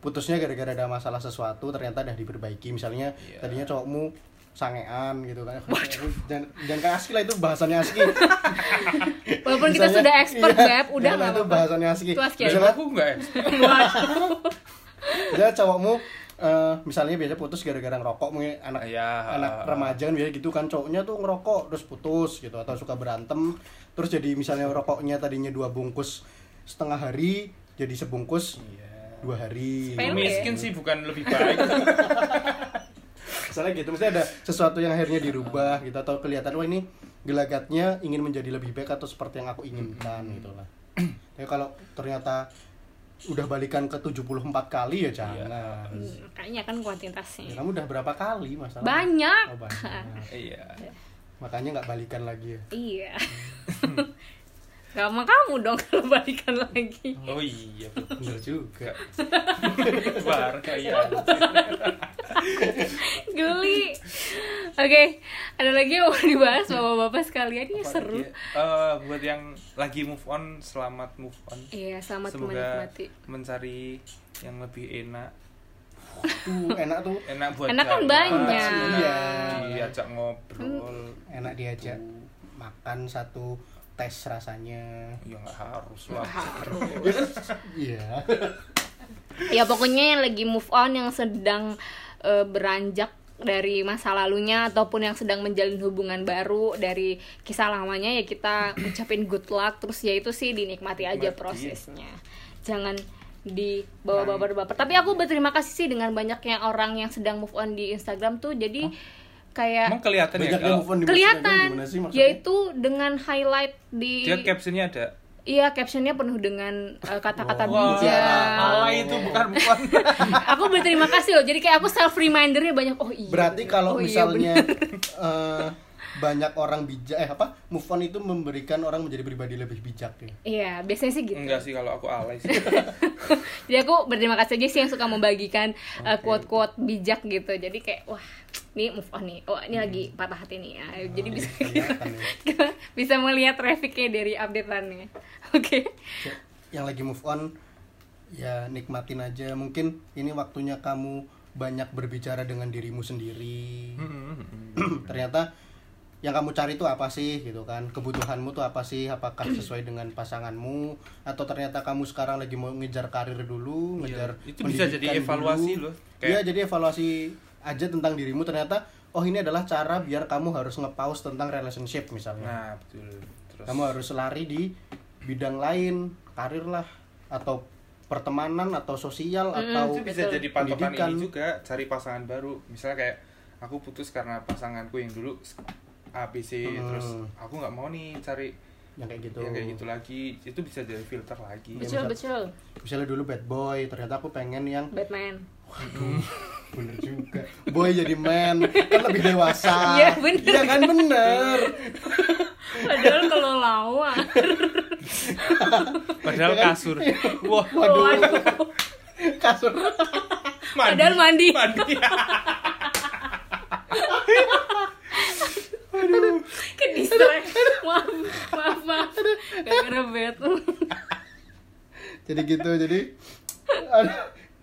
Speaker 1: putusnya gara-gara ada masalah sesuatu ternyata udah diperbaiki misalnya
Speaker 2: Iya.
Speaker 1: tadinya cowokmu sangean gitu kan jangan, jangan kayak aski lah itu bahasannya aski
Speaker 3: walaupun kita
Speaker 1: Misalnya-
Speaker 3: sudah expert
Speaker 1: Iya,
Speaker 3: beb udah
Speaker 1: jangan lah,
Speaker 3: nggak
Speaker 1: itu
Speaker 3: apa-apa.
Speaker 1: bahasannya aski
Speaker 3: Itu aski aja.
Speaker 2: Ya,
Speaker 1: misalnya
Speaker 2: aku enggak
Speaker 1: misalnya cowokmu eh, misalnya biasa putus gara-gara ngerokok mungkin anak
Speaker 2: ya
Speaker 1: anak remaja kan biasa gitu kan cowoknya tuh ngerokok terus putus gitu atau suka berantem terus jadi misalnya rokoknya tadinya dua bungkus setengah hari jadi sebungkus
Speaker 2: Iya.
Speaker 1: dua hari
Speaker 3: Sepele. ya?
Speaker 2: miskin sih bukan lebih baik
Speaker 1: misalnya gitu misalnya ada sesuatu yang akhirnya dirubah gitu atau kelihatan wah ini gelagatnya ingin menjadi lebih baik atau seperti yang aku inginkan gitu lah tapi kalau ternyata udah balikan ke 74 kali ya jangan
Speaker 3: Hmm, kayaknya kan
Speaker 1: ya,
Speaker 3: kuantitasnya
Speaker 1: kamu udah berapa kali masalah
Speaker 3: banyak
Speaker 1: Oh, banyak.
Speaker 2: iya
Speaker 1: makanya nggak balikan lagi ya
Speaker 3: iya Gak sama kamu dong kalau balikan lagi
Speaker 2: oh iya
Speaker 1: bener juga
Speaker 2: bar kayak
Speaker 3: Geli Oke, ada lagi yang mau dibahas bapak-bapak sekalian Ini seru
Speaker 2: Eh, buat yang lagi move on selamat move on
Speaker 3: Iya, selamat
Speaker 2: semoga
Speaker 3: menikmati
Speaker 2: mencari yang lebih enak
Speaker 1: tuh enak tuh
Speaker 2: enak buat
Speaker 3: Enak kan
Speaker 2: jalan,
Speaker 3: banyak.
Speaker 2: iya. diajak ngobrol
Speaker 1: enak diajak makan satu tes rasanya
Speaker 2: ya nggak harus lah
Speaker 1: iya
Speaker 3: Ya pokoknya yang lagi move on Yang sedang eh, beranjak dari masa lalunya ataupun yang sedang menjalin hubungan baru dari kisah lamanya ya kita ucapin good luck terus ya itu sih dinikmati
Speaker 2: Nikmati. iya.
Speaker 3: aja
Speaker 2: Nah,
Speaker 3: prosesnya jangan dibawa baper baper tapi aku berterima kasih sih dengan banyaknya orang yang sedang move on di Instagram tuh jadi kayak
Speaker 2: emang kelihatan ya
Speaker 1: banyak yang
Speaker 2: kalau
Speaker 1: move on di Instagram
Speaker 3: kelihatan
Speaker 1: gimana sih maksudnya
Speaker 3: yaitu dengan highlight di
Speaker 2: dia captionnya ada
Speaker 3: iya captionnya penuh dengan eh, kata-kata
Speaker 1: Wow. Iya,
Speaker 3: bijak
Speaker 2: malah itu bukan move on
Speaker 3: aku berterima kasih loh jadi kayak aku self remindernya banyak oh iya
Speaker 1: Berarti kalau
Speaker 3: Oh iya,
Speaker 1: misalnya eh, banyak orang bijak eh apa move on itu memberikan orang menjadi pribadi lebih bijak ya.
Speaker 3: iya biasanya sih gitu
Speaker 2: enggak sih kalau aku alay sih
Speaker 3: jadi aku berterima kasih aja sih yang suka membagikan eh, quote-quote bijak gitu jadi kayak wah ini move on nih oh ini
Speaker 1: Hmm.
Speaker 3: lagi patah hati nih Ah,
Speaker 1: Oh,
Speaker 3: jadi bisa
Speaker 1: Kelihatan ya.
Speaker 3: bisa melihat trafficnya dari updateannya oke
Speaker 1: Yang lagi move on ya nikmatin aja. Mungkin ini waktunya kamu banyak berbicara dengan dirimu sendiri. Ternyata yang kamu cari itu apa sih gitu kan? Kebutuhanmu tuh apa sih? Apakah sesuai dengan pasanganmu atau ternyata kamu sekarang lagi mau ngejar karir dulu, ngejar
Speaker 2: Iya, itu bisa jadi
Speaker 1: pendidikan
Speaker 2: evaluasi
Speaker 1: dulu.
Speaker 2: loh. Kayak-
Speaker 1: Iya, jadi evaluasi aja tentang dirimu ternyata oh ini adalah cara biar kamu harus ngepaus tentang relationship misalnya.
Speaker 2: nah betul terus
Speaker 1: kamu harus lari di bidang lain, karir lah atau pertemanan atau sosial atau
Speaker 2: itu bisa jadi patokan
Speaker 1: pendidikan.
Speaker 2: ini juga cari pasangan baru misalnya kayak aku putus karena pasanganku yang dulu ABC
Speaker 1: Hmm.
Speaker 2: terus aku nggak mau nih cari
Speaker 1: yang kayak gitu.
Speaker 2: yang kayak gitu lagi itu bisa jadi filter lagi
Speaker 1: Iya, misal-
Speaker 3: betul betul
Speaker 1: Misalnya dulu bad boy, ternyata aku pengen yang
Speaker 3: Batman
Speaker 1: bener juga. Boy jadi man, kan lebih dewasa.
Speaker 3: Iya, bener.
Speaker 1: Iya kan bener.
Speaker 3: padahal kalau lawa
Speaker 2: padahal kasur
Speaker 1: Iya.
Speaker 2: wah
Speaker 1: Waduh. Kasur.
Speaker 2: mandi.
Speaker 3: Padahal mandi.
Speaker 2: mandi
Speaker 3: ke distract maaf maaf maaf gara-gara Batman
Speaker 1: jadi gitu jadi aduh,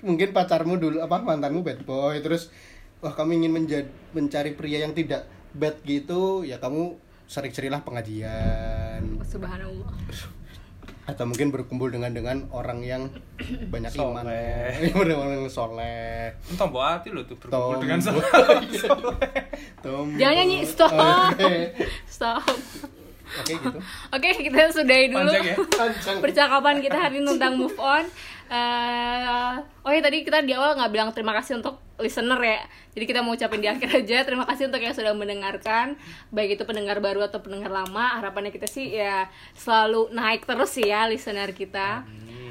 Speaker 1: mungkin pacarmu dulu apa mantanmu bad boy terus wah kamu ingin menjadi mencari pria yang tidak bad gitu ya kamu sering-seringlah pengajian
Speaker 3: subhanallah
Speaker 1: atau mungkin berkumpul dengan dengan orang yang banyak iman
Speaker 2: Soleh.
Speaker 1: orang yang soleh
Speaker 2: tombol hati lo tuh berkumpul
Speaker 1: Tom.
Speaker 2: dengan sama
Speaker 1: Tom.
Speaker 2: Oh, iya.
Speaker 3: Jangan nyanyi, stop.
Speaker 1: Oke.
Speaker 3: stop
Speaker 1: Oke gitu.
Speaker 3: Oke, kita sudahi dulu
Speaker 2: Panjang ya?
Speaker 1: Panjang.
Speaker 3: percakapan kita hari ini tentang move on. Eh, oh ya tadi kita di awal nggak bilang terima kasih untuk listener ya. Jadi kita mau ucapin di akhir aja terima kasih untuk yang sudah mendengarkan, baik itu pendengar baru atau pendengar lama. Harapannya kita sih ya selalu naik terus sih ya listener kita.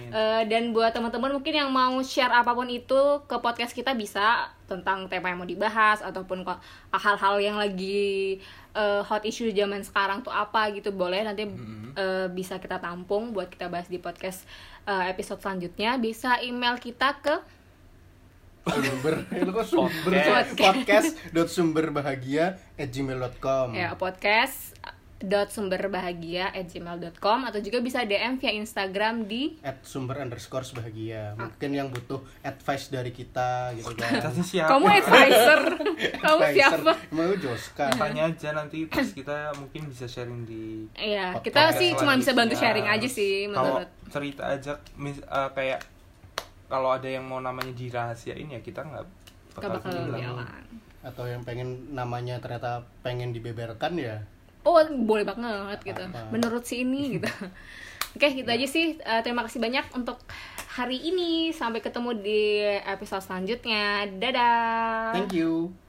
Speaker 3: Eh, dan buat teman-teman mungkin yang mau share apapun itu ke podcast kita bisa tentang tema yang mau dibahas ataupun ko- hal-hal yang lagi eh, hot issue zaman sekarang tuh apa gitu boleh nanti eh, bisa kita tampung buat kita bahas di podcast eh, episode selanjutnya bisa email kita ke
Speaker 1: sumber Eh, lu kok sumber
Speaker 2: Podcast.
Speaker 1: podcast dot sumber bahagia at gmail.com
Speaker 3: ya podcast dot atau juga bisa DM via Instagram di
Speaker 1: at sumber underscore bahagia mungkin yang butuh advice dari kita gitu kan
Speaker 2: Kasih siapa?
Speaker 3: kamu advisor kamu siapa
Speaker 1: mau Joska
Speaker 2: Tanya aja nanti terus kita mungkin bisa sharing di
Speaker 3: Iya,
Speaker 1: Podcast
Speaker 3: kita sih cuma bisa bantu
Speaker 2: selanjutnya.
Speaker 3: sharing aja sih
Speaker 2: Kalau
Speaker 3: menurut
Speaker 2: cerita aja mis- eh, kayak kalau ada yang mau namanya dirahasiain ya kita nggak
Speaker 3: gak bakal
Speaker 2: bilang.
Speaker 3: bilang.
Speaker 1: atau yang pengen namanya ternyata pengen dibeberkan ya
Speaker 3: Oh, boleh banget gitu.
Speaker 1: Apa?
Speaker 3: Menurut si ini gitu. Oke, gitu aja sih. Eh, terima kasih banyak untuk hari ini. Sampai ketemu di episode selanjutnya. Dadah.
Speaker 1: thank you